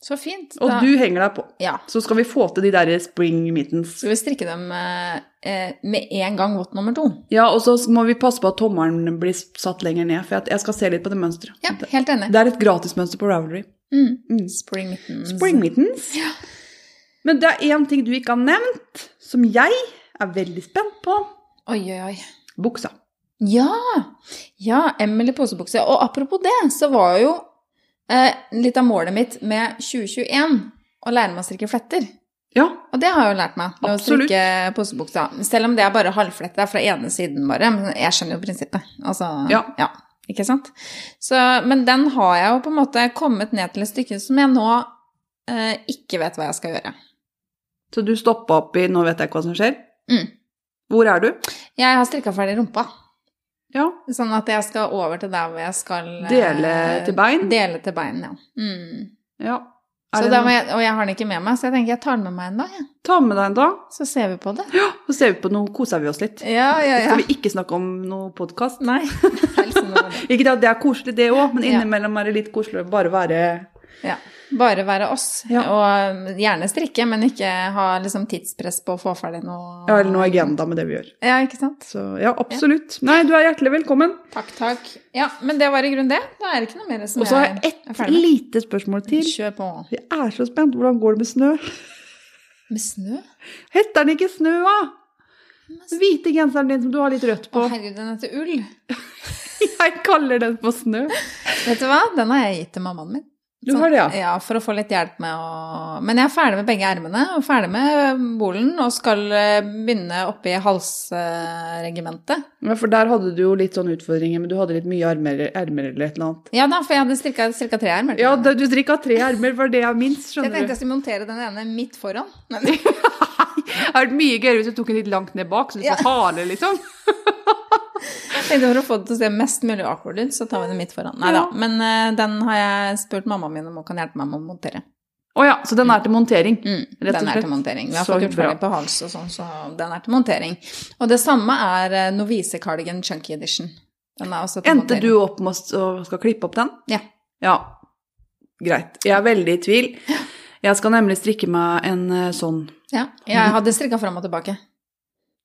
Speaker 1: Så fint.
Speaker 2: Og
Speaker 1: da-
Speaker 2: du henger deg på.
Speaker 1: ja.
Speaker 2: Så skal vi få til de der spring mittens.
Speaker 1: Skal vi strikke dem eh, eh, med en gang vått nummer to?
Speaker 2: Ja, og så må vi passe på at tommelen blir satt lenger ned, for jeg- jeg skal se litt på det mønsteret.
Speaker 1: Ja, helt enig.
Speaker 2: Det er et gratismønster på Ravelry.
Speaker 1: Mm.
Speaker 2: Mm.
Speaker 1: Spring mittens.
Speaker 2: Spring mittens. Men det er én ting du ikke har nevnt, som jeg er veldig spent på.
Speaker 1: Oi, oi, oi.
Speaker 2: Buksa.
Speaker 1: Ja! Ja, Emily posebukse. Og apropos det, så var jo eh, litt av målet mitt med 2021 å lære meg å strikke fletter.
Speaker 2: Ja,
Speaker 1: Og det har jeg jo lært meg. Med
Speaker 2: Absolutt.
Speaker 1: å strikke posebuksa. Selv om det er bare halvfletta fra ene siden, bare. Men jeg skjønner jo prinsippet. Altså,
Speaker 2: Ja.
Speaker 1: Ikke sant? Så, men den har jeg jo på en måte kommet ned til et stykke som jeg nå eh, ikke vet hva jeg skal gjøre.
Speaker 2: så du stoppa opp i 'nå vet jeg ikke hva som skjer'?
Speaker 1: Mm.
Speaker 2: Hvor er du?
Speaker 1: Jeg har strikka ferdig rumpa.
Speaker 2: Ja,
Speaker 1: Sånn at jeg skal over til der hvor jeg skal eh,
Speaker 2: Dele til bein?
Speaker 1: Dele til bein, ja. Mm.
Speaker 2: ja. Er
Speaker 1: Så
Speaker 2: det
Speaker 1: da må
Speaker 2: noe-
Speaker 1: jeg, og jeg har den ikke med meg, så jeg tenker jeg tar den med meg en dag, jeg.
Speaker 2: Ta med deg en, da.
Speaker 1: Så ser vi på det.
Speaker 2: Så ser vi på noe, koser vi oss litt.
Speaker 1: Ja, ja,
Speaker 2: (laughs) Skal vi ikke snakke om noe podkast?
Speaker 1: Nei, helst
Speaker 2: Ikke det at det er koselig, det òg, men
Speaker 1: Ja.
Speaker 2: innimellom er det litt koselig å bare være
Speaker 1: Ja. Bare være oss,
Speaker 2: Ja.
Speaker 1: og gjerne strikke, men ikke ha liksom tidspress på å få ferdig noe.
Speaker 2: Ja, eller noe agenda med det vi gjør.
Speaker 1: Ja, ikke sant?
Speaker 2: Så ja, absolutt. Nei, du er hjertelig velkommen.
Speaker 1: Takk, takk. Ja, men det var i grunnen det. Da er det ikke noe mer som
Speaker 2: Og så har
Speaker 1: jeg
Speaker 2: jeg
Speaker 1: er
Speaker 2: ett
Speaker 1: ferdig med.
Speaker 2: lite spørsmål til.
Speaker 1: Kjør på.
Speaker 2: Jeg er så spent. Hvordan går det med snø?
Speaker 1: Med snø?
Speaker 2: Heter den ikke Snø, da? Den hvite genseren din som du har litt rødt
Speaker 1: Å,
Speaker 2: på.
Speaker 1: herregud, den heter ull.
Speaker 2: (laughs) Jeg kaller den for Snø.
Speaker 1: Vet du hva? Den har jeg gitt til mammaen min.
Speaker 2: Du har det, ja.
Speaker 1: Ja, for å få litt hjelp med å Men jeg er ferdig med begge ermene og ferdig med bolen og skal eh, begynne oppe i halsregimentet.
Speaker 2: Ja, for der hadde du jo litt sånne utfordringer, men du hadde litt mye armer, ermer eller et eller annet.
Speaker 1: Ja da, for jeg hadde strikka cirka tre ermer. til
Speaker 2: Ja,
Speaker 1: den.
Speaker 2: da- du strikka tre ermer, var det jeg minst,
Speaker 1: Så jeg
Speaker 2: skjønner
Speaker 1: tenkte
Speaker 2: du.
Speaker 1: jeg skulle montere den ene midt foran. Men (laughs)
Speaker 2: Det hadde vært mye gøyere hvis du tok den litt langt ned bak, så du
Speaker 1: Ja.
Speaker 2: får hale, liksom.
Speaker 1: jeg tenkte for å få det til å se mest mulig awkward ut, så tar vi den midt foran. Nei da.
Speaker 2: Ja.
Speaker 1: Men eh, den har jeg spurt mammaen min om hun kan hjelpe meg med å montere.
Speaker 2: Å ja, så den er til montering.
Speaker 1: Mm,
Speaker 2: Rett og
Speaker 1: den er
Speaker 2: slett.
Speaker 1: til montering. Vi har
Speaker 2: Så
Speaker 1: fått gjort
Speaker 2: bra.
Speaker 1: ferdig på hals og sånn, så den er til montering. Og det samme er eh, Novice Cardigan Chunky Edition. Den er også til
Speaker 2: Endte du
Speaker 1: montering.
Speaker 2: opp med å å skal klippe opp den?
Speaker 1: Ja.
Speaker 2: Ja, greit. Jeg er veldig i tvil. Jeg skal nemlig strikke meg en eh, sånn.
Speaker 1: Ja, jeg hadde strikka fram og tilbake.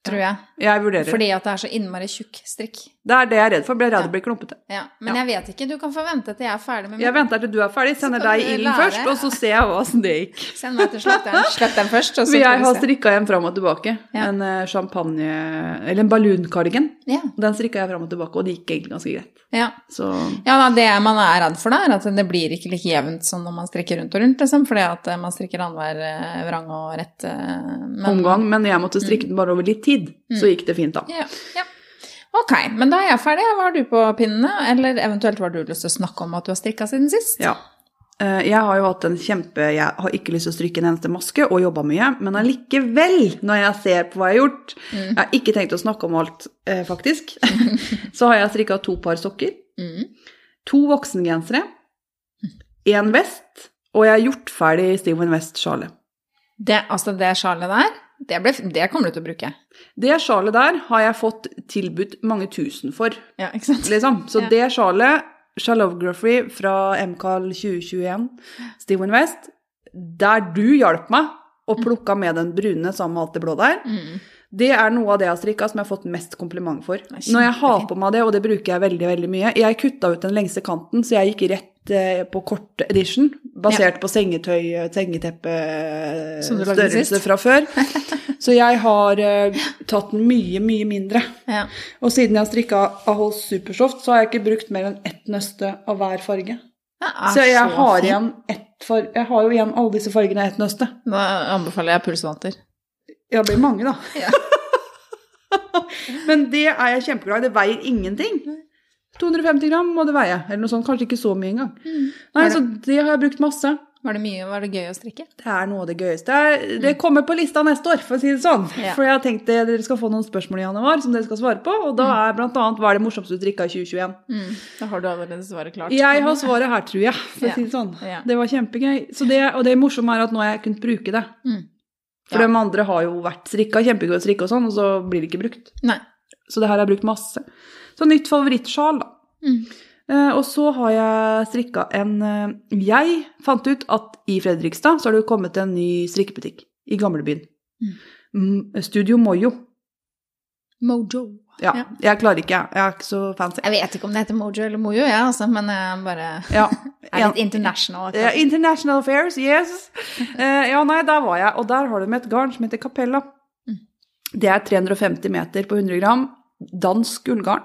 Speaker 1: Tror jeg.
Speaker 2: Jeg vurderer.
Speaker 1: Fordi at det er så innmari tjukk strikk.
Speaker 2: Det er det jeg er redd for. Blir jeg redd det blir klumpete.
Speaker 1: Ja, men jeg vet ikke. Du kan få vente til jeg er ferdig med
Speaker 2: Jeg
Speaker 1: min.
Speaker 2: venter til du er ferdig, sender
Speaker 1: kan
Speaker 2: deg
Speaker 1: du
Speaker 2: ilden
Speaker 1: lære.
Speaker 2: først, og så ser jeg åssen det gikk.
Speaker 1: Send meg til
Speaker 2: (laughs)
Speaker 1: slekteren. Slekteren først, og så
Speaker 2: For jeg
Speaker 1: får
Speaker 2: har
Speaker 1: du se.
Speaker 2: strikka en fram og tilbake.
Speaker 1: Ja. Mm.
Speaker 2: En eh, champagne Eller en ballonkardigan.
Speaker 1: Ja,
Speaker 2: Den strikka jeg fram og tilbake, og det gikk egentlig ganske greit.
Speaker 1: ja.
Speaker 2: Så
Speaker 1: ja da, det man er redd for da, er at det blir ikke like jevnt som når man strikker rundt og rundt, liksom, fordi at eh, man strikker annenhver eh, vrang og rett eh, men- Mm.
Speaker 2: omgang. Men jeg måtte strikke den bare over litt tid. Så gikk det fint, da.
Speaker 1: Ja, ja. Ok, men da er jeg ferdig. Hva har du på pinnene? Eller eventuelt hva har du lyst til å snakke om at du har strikka siden sist?
Speaker 2: Ja. Eh, Jeg har jo hatt en kjempe Jeg har ikke lyst til å stryke en eneste maske og jobba mye, men allikevel, når jeg ser på hva jeg har gjort Jeg har ikke tenkt å snakke om alt, eh, faktisk. (laughs) Så har jeg strikka to par sokker,
Speaker 1: Mm.
Speaker 2: to voksengensere, én vest, og jeg har gjort ferdig Steven West-sjalet.
Speaker 1: Det, altså det sjalet der, det, ble, det kommer du til å bruke.
Speaker 2: Det sjalet der har jeg fått tilbudt mange tusen for,
Speaker 1: Ja, ikke sant?
Speaker 2: liksom. Så
Speaker 1: Ja.
Speaker 2: det sjalet, Shalography fra MKL 2021, Steven West, der du hjalp meg og plukka med den brune sammen med alt det blå der,
Speaker 1: Mm.
Speaker 2: det er noe av det jeg har strikka som jeg har fått mest kompliment for.
Speaker 1: er
Speaker 2: Når jeg har
Speaker 1: kjempefint.
Speaker 2: på meg det, og det bruker jeg veldig veldig mye Jeg kutta ut den lengste kanten, så jeg gikk rett eh, på kort edition, basert på sengetøy, eh, sengeteppe,
Speaker 1: Som du lagde
Speaker 2: størrelse
Speaker 1: sist.
Speaker 2: fra før. Så jeg har eh, tatt den mye, mye mindre.
Speaker 1: (laughs) Ja.
Speaker 2: Og siden jeg har strikka Ahols Supersoft, så har jeg ikke brukt mer enn ett nøste av hver farge.
Speaker 1: Det er
Speaker 2: Så jeg har,
Speaker 1: fint.
Speaker 2: igjen ett far jeg har jo igjen alle disse fargene i ett nøste.
Speaker 1: Da anbefaler jeg pulsvanter.
Speaker 2: Ja, det blir mange, da.
Speaker 1: Ja.
Speaker 2: (laughs) Men det er jeg kjempeglad i. Det veier ingenting. 250 gram må det veie, eller noe sånt. Kanskje ikke så mye engang. Nei,
Speaker 1: Var det-
Speaker 2: så det har jeg brukt masse.
Speaker 1: Var det mye, var det gøy å strikke?
Speaker 2: Det er noe av det gøyeste. Det er- Det kommer på lista neste år, for å si det sånn.
Speaker 1: Mm. Ja.
Speaker 2: For jeg har tenkt det, dere skal få noen spørsmål i januar som dere skal svare på, og da
Speaker 1: Mm.
Speaker 2: er blant annet hva er det morsomste du drikka i 2021?
Speaker 1: Da har du allerede svaret klart.
Speaker 2: Mm. Jeg har svaret her, tror jeg, for
Speaker 1: Ja.
Speaker 2: å si det sånn.
Speaker 1: Ja.
Speaker 2: Det var kjempegøy. Så det, og det morsomme er at nå har jeg kunnet bruke det.
Speaker 1: Mm.
Speaker 2: For
Speaker 1: Ja.
Speaker 2: de andre har jo vært strikka, kjempegøy å strikke og sånn, og så blir det ikke brukt.
Speaker 1: Nei.
Speaker 2: Så det her har jeg brukt masse. Så nytt favorittsjal, da.
Speaker 1: Mm.
Speaker 2: Eh, og så har jeg strikka en eh, Jeg fant ut at i Fredrikstad så har det jo kommet en ny strikkebutikk i gamlebyen.
Speaker 1: Mm.
Speaker 2: Mm, Studio Mojo.
Speaker 1: Mojo.
Speaker 2: Ja,
Speaker 1: Ja.
Speaker 2: jeg klarer ikke, jeg. Jeg er ikke så fancy.
Speaker 1: Jeg vet ikke om det heter Mojo eller Mojo, jeg, altså, men jeg bare
Speaker 2: Ja,
Speaker 1: (laughs) er litt international.
Speaker 2: Eh, International Affairs, yes! Eh, ja, nei, der var jeg. Og der har de et garn som heter Capella.
Speaker 1: Mm.
Speaker 2: Det er 350 meter på 100 gram. Dansk ullgarn.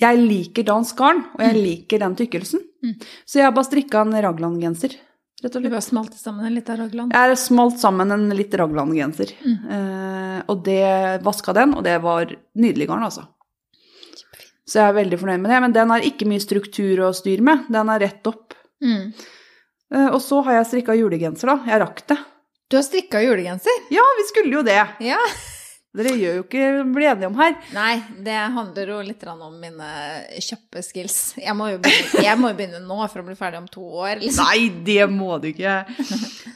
Speaker 2: Jeg liker dansk garn, og jeg liker den tykkelsen.
Speaker 1: Mm.
Speaker 2: Så jeg har bare strikka en Ragland-genser, rett og
Speaker 1: Du
Speaker 2: slett.
Speaker 1: bare smalt sammen en liten raglan.
Speaker 2: Jeg har smalt sammen en litt Ragland-genser.
Speaker 1: Mm.
Speaker 2: Eh, og det vaska den, og det var nydelig garn, altså. Så jeg er veldig fornøyd med det. Men den har ikke mye struktur å styre med. Den er rett opp.
Speaker 1: Mm.
Speaker 2: Eh, og så har jeg strikka julegenser, da. Jeg rakk det.
Speaker 1: Du har strikka julegenser?
Speaker 2: Ja, vi skulle jo det.
Speaker 1: Ja.
Speaker 2: Dere gjør jo ikke bli enige om her.
Speaker 1: Nei, det handler jo litt grann om mine kjappe skills. Jeg må jo begynne, jeg må jo begynne nå for å bli ferdig om to år. (laughs) Liksom.
Speaker 2: Nei, det må du ikke.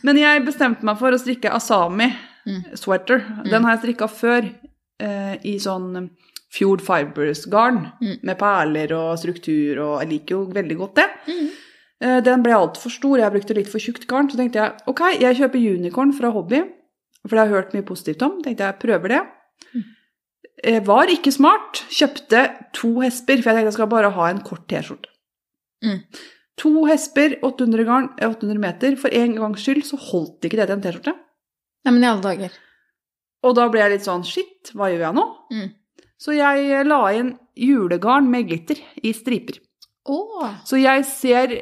Speaker 2: Men jeg bestemte meg for å strikke Asami
Speaker 1: Mm.
Speaker 2: sweater. Den har jeg strikka før eh, i sånn Fjord Fibers-garn
Speaker 1: Mm.
Speaker 2: med perler og struktur, og jeg liker jo veldig godt det.
Speaker 1: Mm.
Speaker 2: Eh, Den ble altfor stor, jeg brukte litt for tjukt garn. Så tenkte jeg ok, jeg kjøper unicorn fra hobby, for det har jeg hørt mye positivt om. tenkte jeg prøver det.
Speaker 1: Mm.
Speaker 2: Jeg var ikke smart. Kjøpte to hesper, for jeg tenkte jeg skal bare ha en kort T-skjorte.
Speaker 1: Mm.
Speaker 2: To hesper, 800 garn, eh, 800 meter. For en gangs skyld så holdt ikke det til en T-skjorte.
Speaker 1: Nei, men i alle dager.
Speaker 2: Og da ble jeg litt sånn shit, hva gjør jeg nå?
Speaker 1: Mm.
Speaker 2: Så jeg eh, la inn julegarn med glitter i striper.
Speaker 1: Å!
Speaker 2: Så jeg ser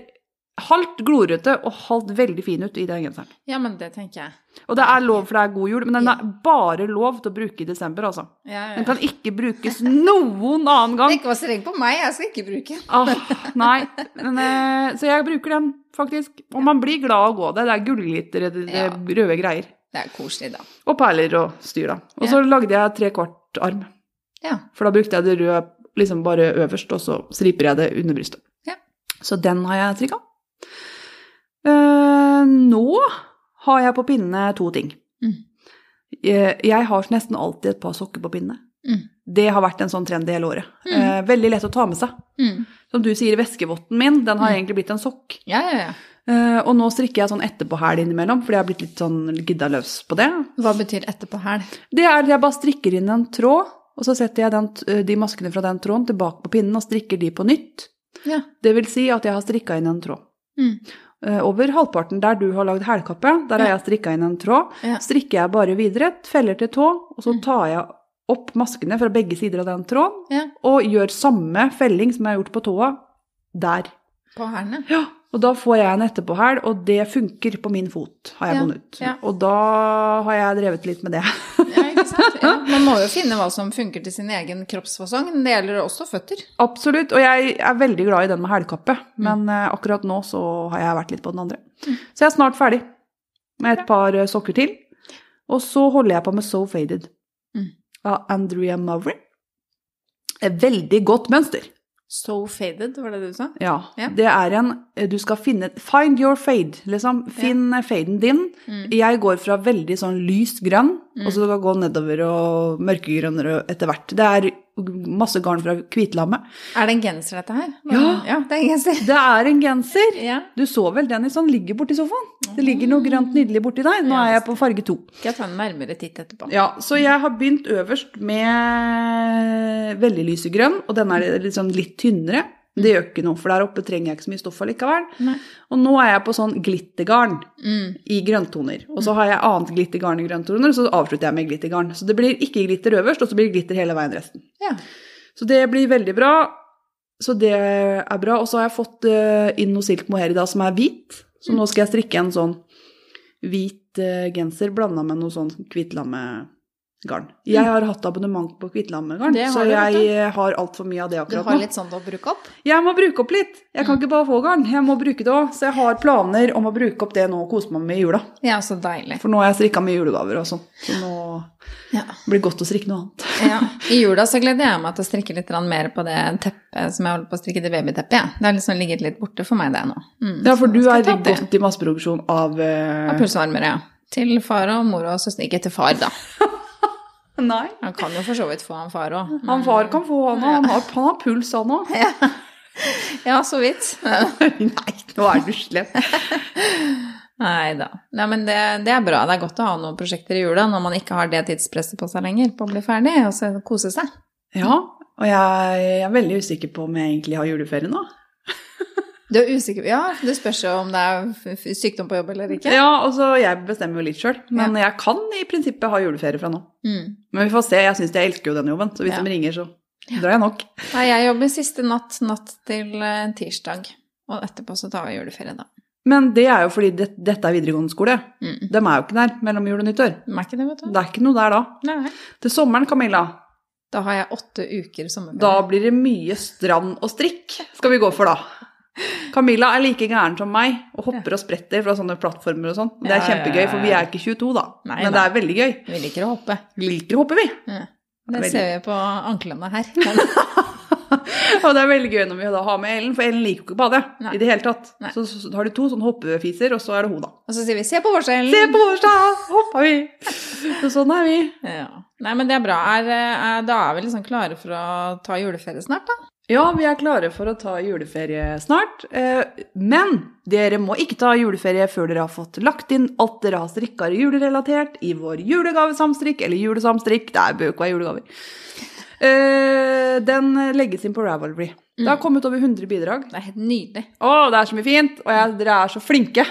Speaker 2: halvt glorete og halvt veldig fin ut i den genseren.
Speaker 1: Ja, men det tenker jeg.
Speaker 2: Og det er lov, for det er god jul, men den
Speaker 1: Ja.
Speaker 2: er bare lov til å bruke i desember, altså.
Speaker 1: Ja, ja, ja.
Speaker 2: Den kan ikke brukes noen
Speaker 1: (laughs)
Speaker 2: annen gang.
Speaker 1: Ikke vær streng på meg, jeg skal ikke bruke den.
Speaker 2: Ah, nei. Men, eh, så jeg bruker den, faktisk. Og man blir glad av å gå det. Det er gullglitter, det- det-
Speaker 1: Ja.
Speaker 2: røde greier.
Speaker 1: Det er koselig, da.
Speaker 2: Og perler og styr, da. Og så lagde jeg trekvart arm.
Speaker 1: Ja.
Speaker 2: For da brukte jeg det røde liksom bare øverst, og så striper jeg det under brystet.
Speaker 1: Ja.
Speaker 2: Så den har jeg trikka. Eh, nå har jeg på pinne to ting.
Speaker 1: Mm.
Speaker 2: Eh, Jeg har nesten alltid et par sokker på pinne.
Speaker 1: Mm.
Speaker 2: Det har vært en sånn trend i hele året.
Speaker 1: Mm.
Speaker 2: Eh, veldig lett å ta med seg.
Speaker 1: Mm.
Speaker 2: Som du sier, veskevotten min, den har
Speaker 1: Mm.
Speaker 2: egentlig blitt en sokk.
Speaker 1: Ja, ja, ja.
Speaker 2: Eh, og nå strikker jeg sånn etterpåhæl innimellom, fordi jeg har blitt litt sånn gidda løs på det.
Speaker 1: Hva betyr etterpå hæl?
Speaker 2: Det er at jeg bare strikker inn en tråd, og så setter jeg den, t- eh, de maskene fra den tråden tilbake på pinnen og strikker de på nytt.
Speaker 1: Ja.
Speaker 2: Det vil si at jeg har strikka inn en tråd.
Speaker 1: Mm.
Speaker 2: Eh, Over halvparten der du har lagd hælkappe, der har
Speaker 1: Ja.
Speaker 2: jeg strikka inn en tråd.
Speaker 1: Ja.
Speaker 2: Strikker jeg bare videre, feller til tå, og så
Speaker 1: Mm.
Speaker 2: tar jeg opp maskene fra begge sider av den tråden
Speaker 1: Ja.
Speaker 2: og gjør samme felling som jeg har gjort på tåa, der.
Speaker 1: På hælene?
Speaker 2: Ja, og da får jeg en etterpåhæl, og det funker på min fot, har jeg
Speaker 1: Ja,
Speaker 2: funnet ut.
Speaker 1: ja.
Speaker 2: Og da har jeg drevet litt med det.
Speaker 1: Ja, ikke sant? Ja. Man må jo finne hva som funker til sin egen kroppsfasong. men Det gjelder også føtter.
Speaker 2: Absolutt, og jeg er veldig glad i den med hælkappe,
Speaker 1: Mm.
Speaker 2: men eh, akkurat nå så har jeg vært litt på den andre. Så jeg er snart ferdig med et par eh, sokker til. Og så holder jeg på med So Faded
Speaker 1: Mm.
Speaker 2: av Andrea Mowry. Et veldig godt mønster.
Speaker 1: So faded, var det det du sa?
Speaker 2: Ja,
Speaker 1: Ja.
Speaker 2: det er en eh, Du skal finne Find your fade, liksom. Finn eh, faden din.
Speaker 1: Mm.
Speaker 2: Jeg går fra veldig sånn lys grønn,
Speaker 1: Mm.
Speaker 2: og så skal jeg gå nedover og mørkegrønnere etter hvert. Det er masse garn fra hvitlammet.
Speaker 1: Er det en genser, dette her?
Speaker 2: Ja.
Speaker 1: det er en genser.
Speaker 2: Det er en genser!
Speaker 1: Ja.
Speaker 2: Du så vel den i sånn ligger borti sofaen? Det ligger noe grønt nydelig borti deg. Nå
Speaker 1: Ja,
Speaker 2: er jeg på farge to.
Speaker 1: Skal jeg ta en nærmere titt etterpå?
Speaker 2: Ja, så jeg har begynt øverst med veldig lysegrønn, og den er litt sånn litt tynnere. Men Det gjør ikke noe, for der oppe trenger jeg ikke så mye stoff allikevel.
Speaker 1: Nei.
Speaker 2: Og nå er jeg på sånn glittergarn
Speaker 1: Mm.
Speaker 2: i grønntoner. Og så har jeg annet glittergarn i grønntoner, og så avslutter jeg med glittergarn. Så det blir ikke glitter øverst, og så blir det glitter hele veien resten.
Speaker 1: ja.
Speaker 2: Så det blir veldig bra. Så det er bra. Og så har jeg fått eh, inn noe silk mohair i dag som er hvit. Så nå skal jeg strikke en sånn hvit eh, genser blanda med noe sånn hvitlammegarn. Jeg har hatt abonnement på hvitlammegarn,
Speaker 1: Det har
Speaker 2: så
Speaker 1: du, vet
Speaker 2: jeg
Speaker 1: du.
Speaker 2: eh, har Mm. altfor mye av det
Speaker 1: Du
Speaker 2: akkurat
Speaker 1: har
Speaker 2: nå.
Speaker 1: litt sånn å bruke opp?
Speaker 2: Jeg må bruke opp litt. Jeg kan ikke bare få garn, jeg må bruke det òg. Så jeg har planer om å bruke opp det nå og kose meg med i jula.
Speaker 1: Ja, så deilig.
Speaker 2: For nå har jeg strikka mye julegaver og sånn. Så nå
Speaker 1: Ja.
Speaker 2: blir det godt å strikke noe annet.
Speaker 1: Ja. I jula så gleder jeg meg til å strikke litt grann mer på det teppet som jeg holder på å strikke til babyteppet. Ja. Det har liksom ligget litt borte for meg, det nå. Mm,
Speaker 2: Ja,
Speaker 1: så
Speaker 2: for
Speaker 1: nå
Speaker 2: du
Speaker 1: skal
Speaker 2: er
Speaker 1: jeg ta opp det.
Speaker 2: godt i masseproduksjon av eh,
Speaker 1: Av pulsvarmere, ja. Til far og mor og søster. Ikke til far, da.
Speaker 2: Nei.
Speaker 1: Han kan jo for så vidt få han far òg.
Speaker 2: Han far kan få han, han, har, han har puls, han (laughs) òg.
Speaker 1: Ja, så vidt.
Speaker 2: Nei, nå er du slem.
Speaker 1: Nei da. Nei, men det, det er bra. Det er godt å ha noen prosjekter i jula når man ikke har det tidspresset på seg lenger på å bli ferdig og så kose seg.
Speaker 2: Ja, og jeg, jeg er veldig usikker på om jeg egentlig har juleferie nå.
Speaker 1: Du er usikker Ja, det spørs jo om det er f- f- sykdom på jobb eller ikke.
Speaker 2: Ja, altså jeg bestemmer jo litt sjøl, men jeg kan i prinsippet ha juleferie fra nå.
Speaker 1: Mm.
Speaker 2: Men vi får se, jeg syns jeg elsker jo denne jobben, så hvis
Speaker 1: Ja.
Speaker 2: de ringer, så drar jeg nok.
Speaker 1: Nei, jeg jobber siste natt, natt til eh, tirsdag. Og etterpå så tar vi juleferie, da.
Speaker 2: Men det er jo fordi det, dette er videregående skole.
Speaker 1: Mm.
Speaker 2: De er jo ikke der mellom jul og nyttår.
Speaker 1: Merker ikke det, vet du.
Speaker 2: Det er ikke noe der da.
Speaker 1: Nei.
Speaker 2: Til sommeren, Camilla,
Speaker 1: Da har jeg åtte uker sommerferie.
Speaker 2: Da blir det mye strand og strikk, skal vi gå for da. Camilla er like gæren som meg og hopper og spretter fra sånne plattformer og sånn. Det er
Speaker 1: Ja, ja, ja,
Speaker 2: kjempegøy, for vi
Speaker 1: ja.
Speaker 2: er ikke 22 da,
Speaker 1: Nei,
Speaker 2: men det
Speaker 1: nei.
Speaker 2: er veldig gøy.
Speaker 1: Vi liker å hoppe.
Speaker 2: Vi liker å hoppe, vi.
Speaker 1: Ja. (laughs)
Speaker 2: Veldig.
Speaker 1: Det ser vi på anklene her.
Speaker 2: Og det er veldig gøy når vi da har med Ellen, for Ellen liker jo ikke å bade
Speaker 1: Nei.
Speaker 2: i det hele tatt.
Speaker 1: Nei.
Speaker 2: Så, så, så har de to sånn hoppefiser, og så er det hun, da.
Speaker 1: Og så sier vi 'se på forskjellen'.
Speaker 2: Se på torsdag, hoppa vi! Så sånn er vi.
Speaker 1: Ja. Nei, men det er bra. Er, er, da er vi liksom klare for å ta juleferie snart, da.
Speaker 2: Ja, vi er klare for å ta juleferie snart. eh, Men dere må ikke ta juleferie før dere har fått lagt inn alt dere har strikka julerelatert i vår julegavesamstrikk eller julesamstrikk. Det bør jo ikke være julegaver. Eh, Den legges inn på Ravelry. Det har kommet over 100 bidrag.
Speaker 1: Det er helt nydelig.
Speaker 2: Å, det er så mye fint! Og jeg, dere er så flinke!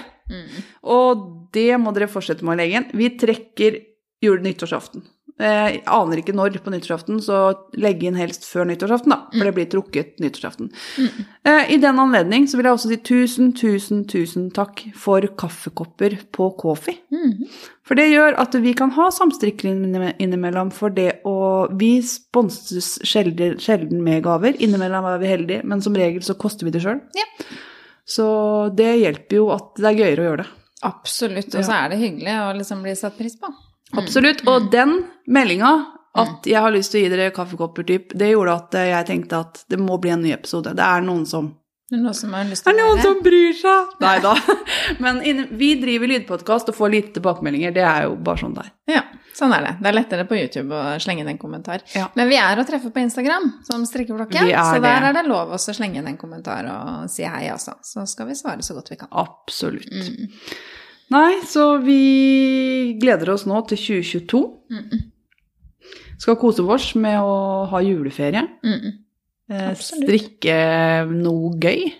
Speaker 2: Og det må dere fortsette med å legge inn. Vi trekker jul- nyttårsaften. Eh, Jeg aner ikke når på nyttårsaften, så legg inn helst før nyttårsaften, da. For det blir trukket nyttårsaften. Eh, I den anledning så vil jeg også si tusen, tusen, tusen takk for kaffekopper på Kofi. For det gjør at vi kan ha samstrikling inne- innimellom for det å Vi sponses sjelden, sjelden med gaver. Innimellom er vi heldige, men som regel så koster vi det sjøl.
Speaker 1: Ja.
Speaker 2: Så det hjelper jo at det er gøyere å gjøre det.
Speaker 1: Absolutt. Og så er det hyggelig å liksom bli satt pris på.
Speaker 2: Mm. Absolutt. Og den meldinga, at jeg har lyst til å gi dere kaffekopper, typ, det gjorde at eh, jeg tenkte at det må bli en ny episode. Det er noen som
Speaker 1: Det er noen som har lyst
Speaker 2: Det
Speaker 1: til
Speaker 2: er
Speaker 1: å
Speaker 2: noen
Speaker 1: gjøre det.
Speaker 2: som bryr seg! Nei da. (laughs) Men innen, vi driver lydpodkast og får lite tilbakemeldinger. Det er jo bare sånn det er.
Speaker 1: Ja, sånn er det. Det er lettere på YouTube å slenge inn en kommentar.
Speaker 2: Ja.
Speaker 1: Men vi er å treffe på Instagram som strikkeflokken,
Speaker 2: Vi er
Speaker 1: så der
Speaker 2: det.
Speaker 1: er det lov også å slenge inn en kommentar og si hei, altså. Så skal vi svare så godt vi kan.
Speaker 2: Absolutt.
Speaker 1: Mm.
Speaker 2: Nei, så vi gleder oss nå til 2022.
Speaker 1: Mm.
Speaker 2: Skal kose oss med å ha juleferie.
Speaker 1: Mm.
Speaker 2: Eh,
Speaker 1: Absolutt. Mm.
Speaker 2: Strikke noe gøy.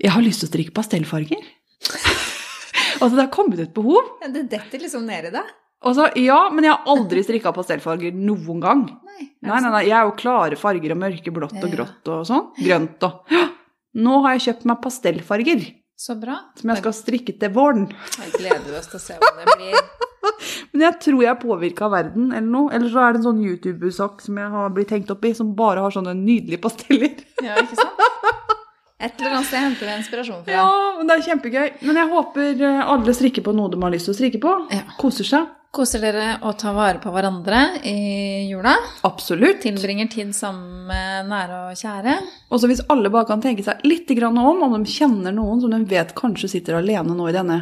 Speaker 2: Jeg har lyst til å strikke pastellfarger. (laughs) altså, det har kommet et behov.
Speaker 1: Ja, det detter liksom ned i deg.
Speaker 2: Altså, ja, men jeg har aldri strikka pastellfarger noen gang.
Speaker 1: Nei. er det
Speaker 2: Nei, nei,
Speaker 1: sant?
Speaker 2: nei, jeg er jo klare farger og mørke, blått
Speaker 1: Ja.
Speaker 2: og grått og sånn. Grønt og (gasps) ja. Nå har jeg kjøpt meg pastellfarger
Speaker 1: Så bra.
Speaker 2: som jeg skal strikke til våren.
Speaker 1: Da gleder vi oss til å se hvordan det blir.
Speaker 2: Men jeg tror jeg er påvirka av verden eller noe. Eller så er det en sånn YouTube-sak som jeg har blitt hengt opp i, som bare har sånne nydelige
Speaker 1: (laughs)
Speaker 2: pasteller.
Speaker 1: Ja, ikke sant? Et eller annet sted henter vi inspirasjon fra.
Speaker 2: Ja, men det er kjempegøy. Men jeg håper eh, alle strikker på noe de har lyst til å strikke på.
Speaker 1: Ja.
Speaker 2: Koser seg.
Speaker 1: Koser dere og tar vare på hverandre i jula.
Speaker 2: Absolutt.
Speaker 1: Tilbringer tid sammen med nære og kjære.
Speaker 2: Og så hvis alle bare kan tenke seg litt grann om, om de kjenner noen som de vet kanskje sitter alene nå i denne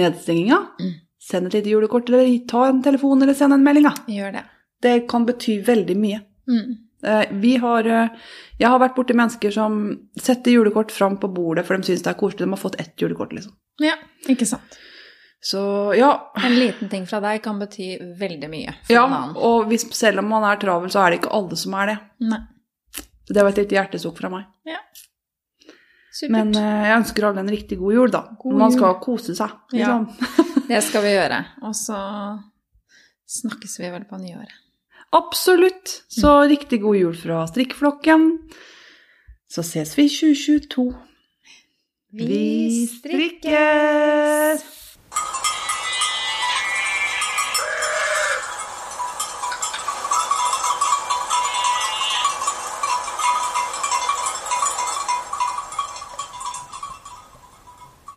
Speaker 2: nedstenginga,
Speaker 1: Mm.
Speaker 2: send et lite julekort, eller ta en telefon, eller send en melding. da.
Speaker 1: Gjør det.
Speaker 2: Det kan bety veldig mye.
Speaker 1: Mm.
Speaker 2: Eh, Vi har, eh, jeg har vært borti mennesker som setter julekort fram på bordet, for de syns det er koselig. De har fått ett julekort, liksom.
Speaker 1: Ja, ikke sant.
Speaker 2: Så ja.
Speaker 1: En liten ting fra deg kan bety veldig mye for
Speaker 2: ja
Speaker 1: en annen.
Speaker 2: og hvis, selv om man er travel, så er det ikke alle som er det.
Speaker 1: Nei.
Speaker 2: Det var et lite hjertesukk fra meg.
Speaker 1: Supert.
Speaker 2: Men eh, jeg ønsker alle en riktig god jul, da.
Speaker 1: God
Speaker 2: Man
Speaker 1: jul.
Speaker 2: skal kose seg. Liksom.
Speaker 1: det skal vi gjøre. Og så snakkes vi vel på nyåret.
Speaker 2: Absolutt. Så
Speaker 1: Mm.
Speaker 2: riktig god jul fra strikkeflokken. Så ses vi i 2022.
Speaker 1: Vi strikkes!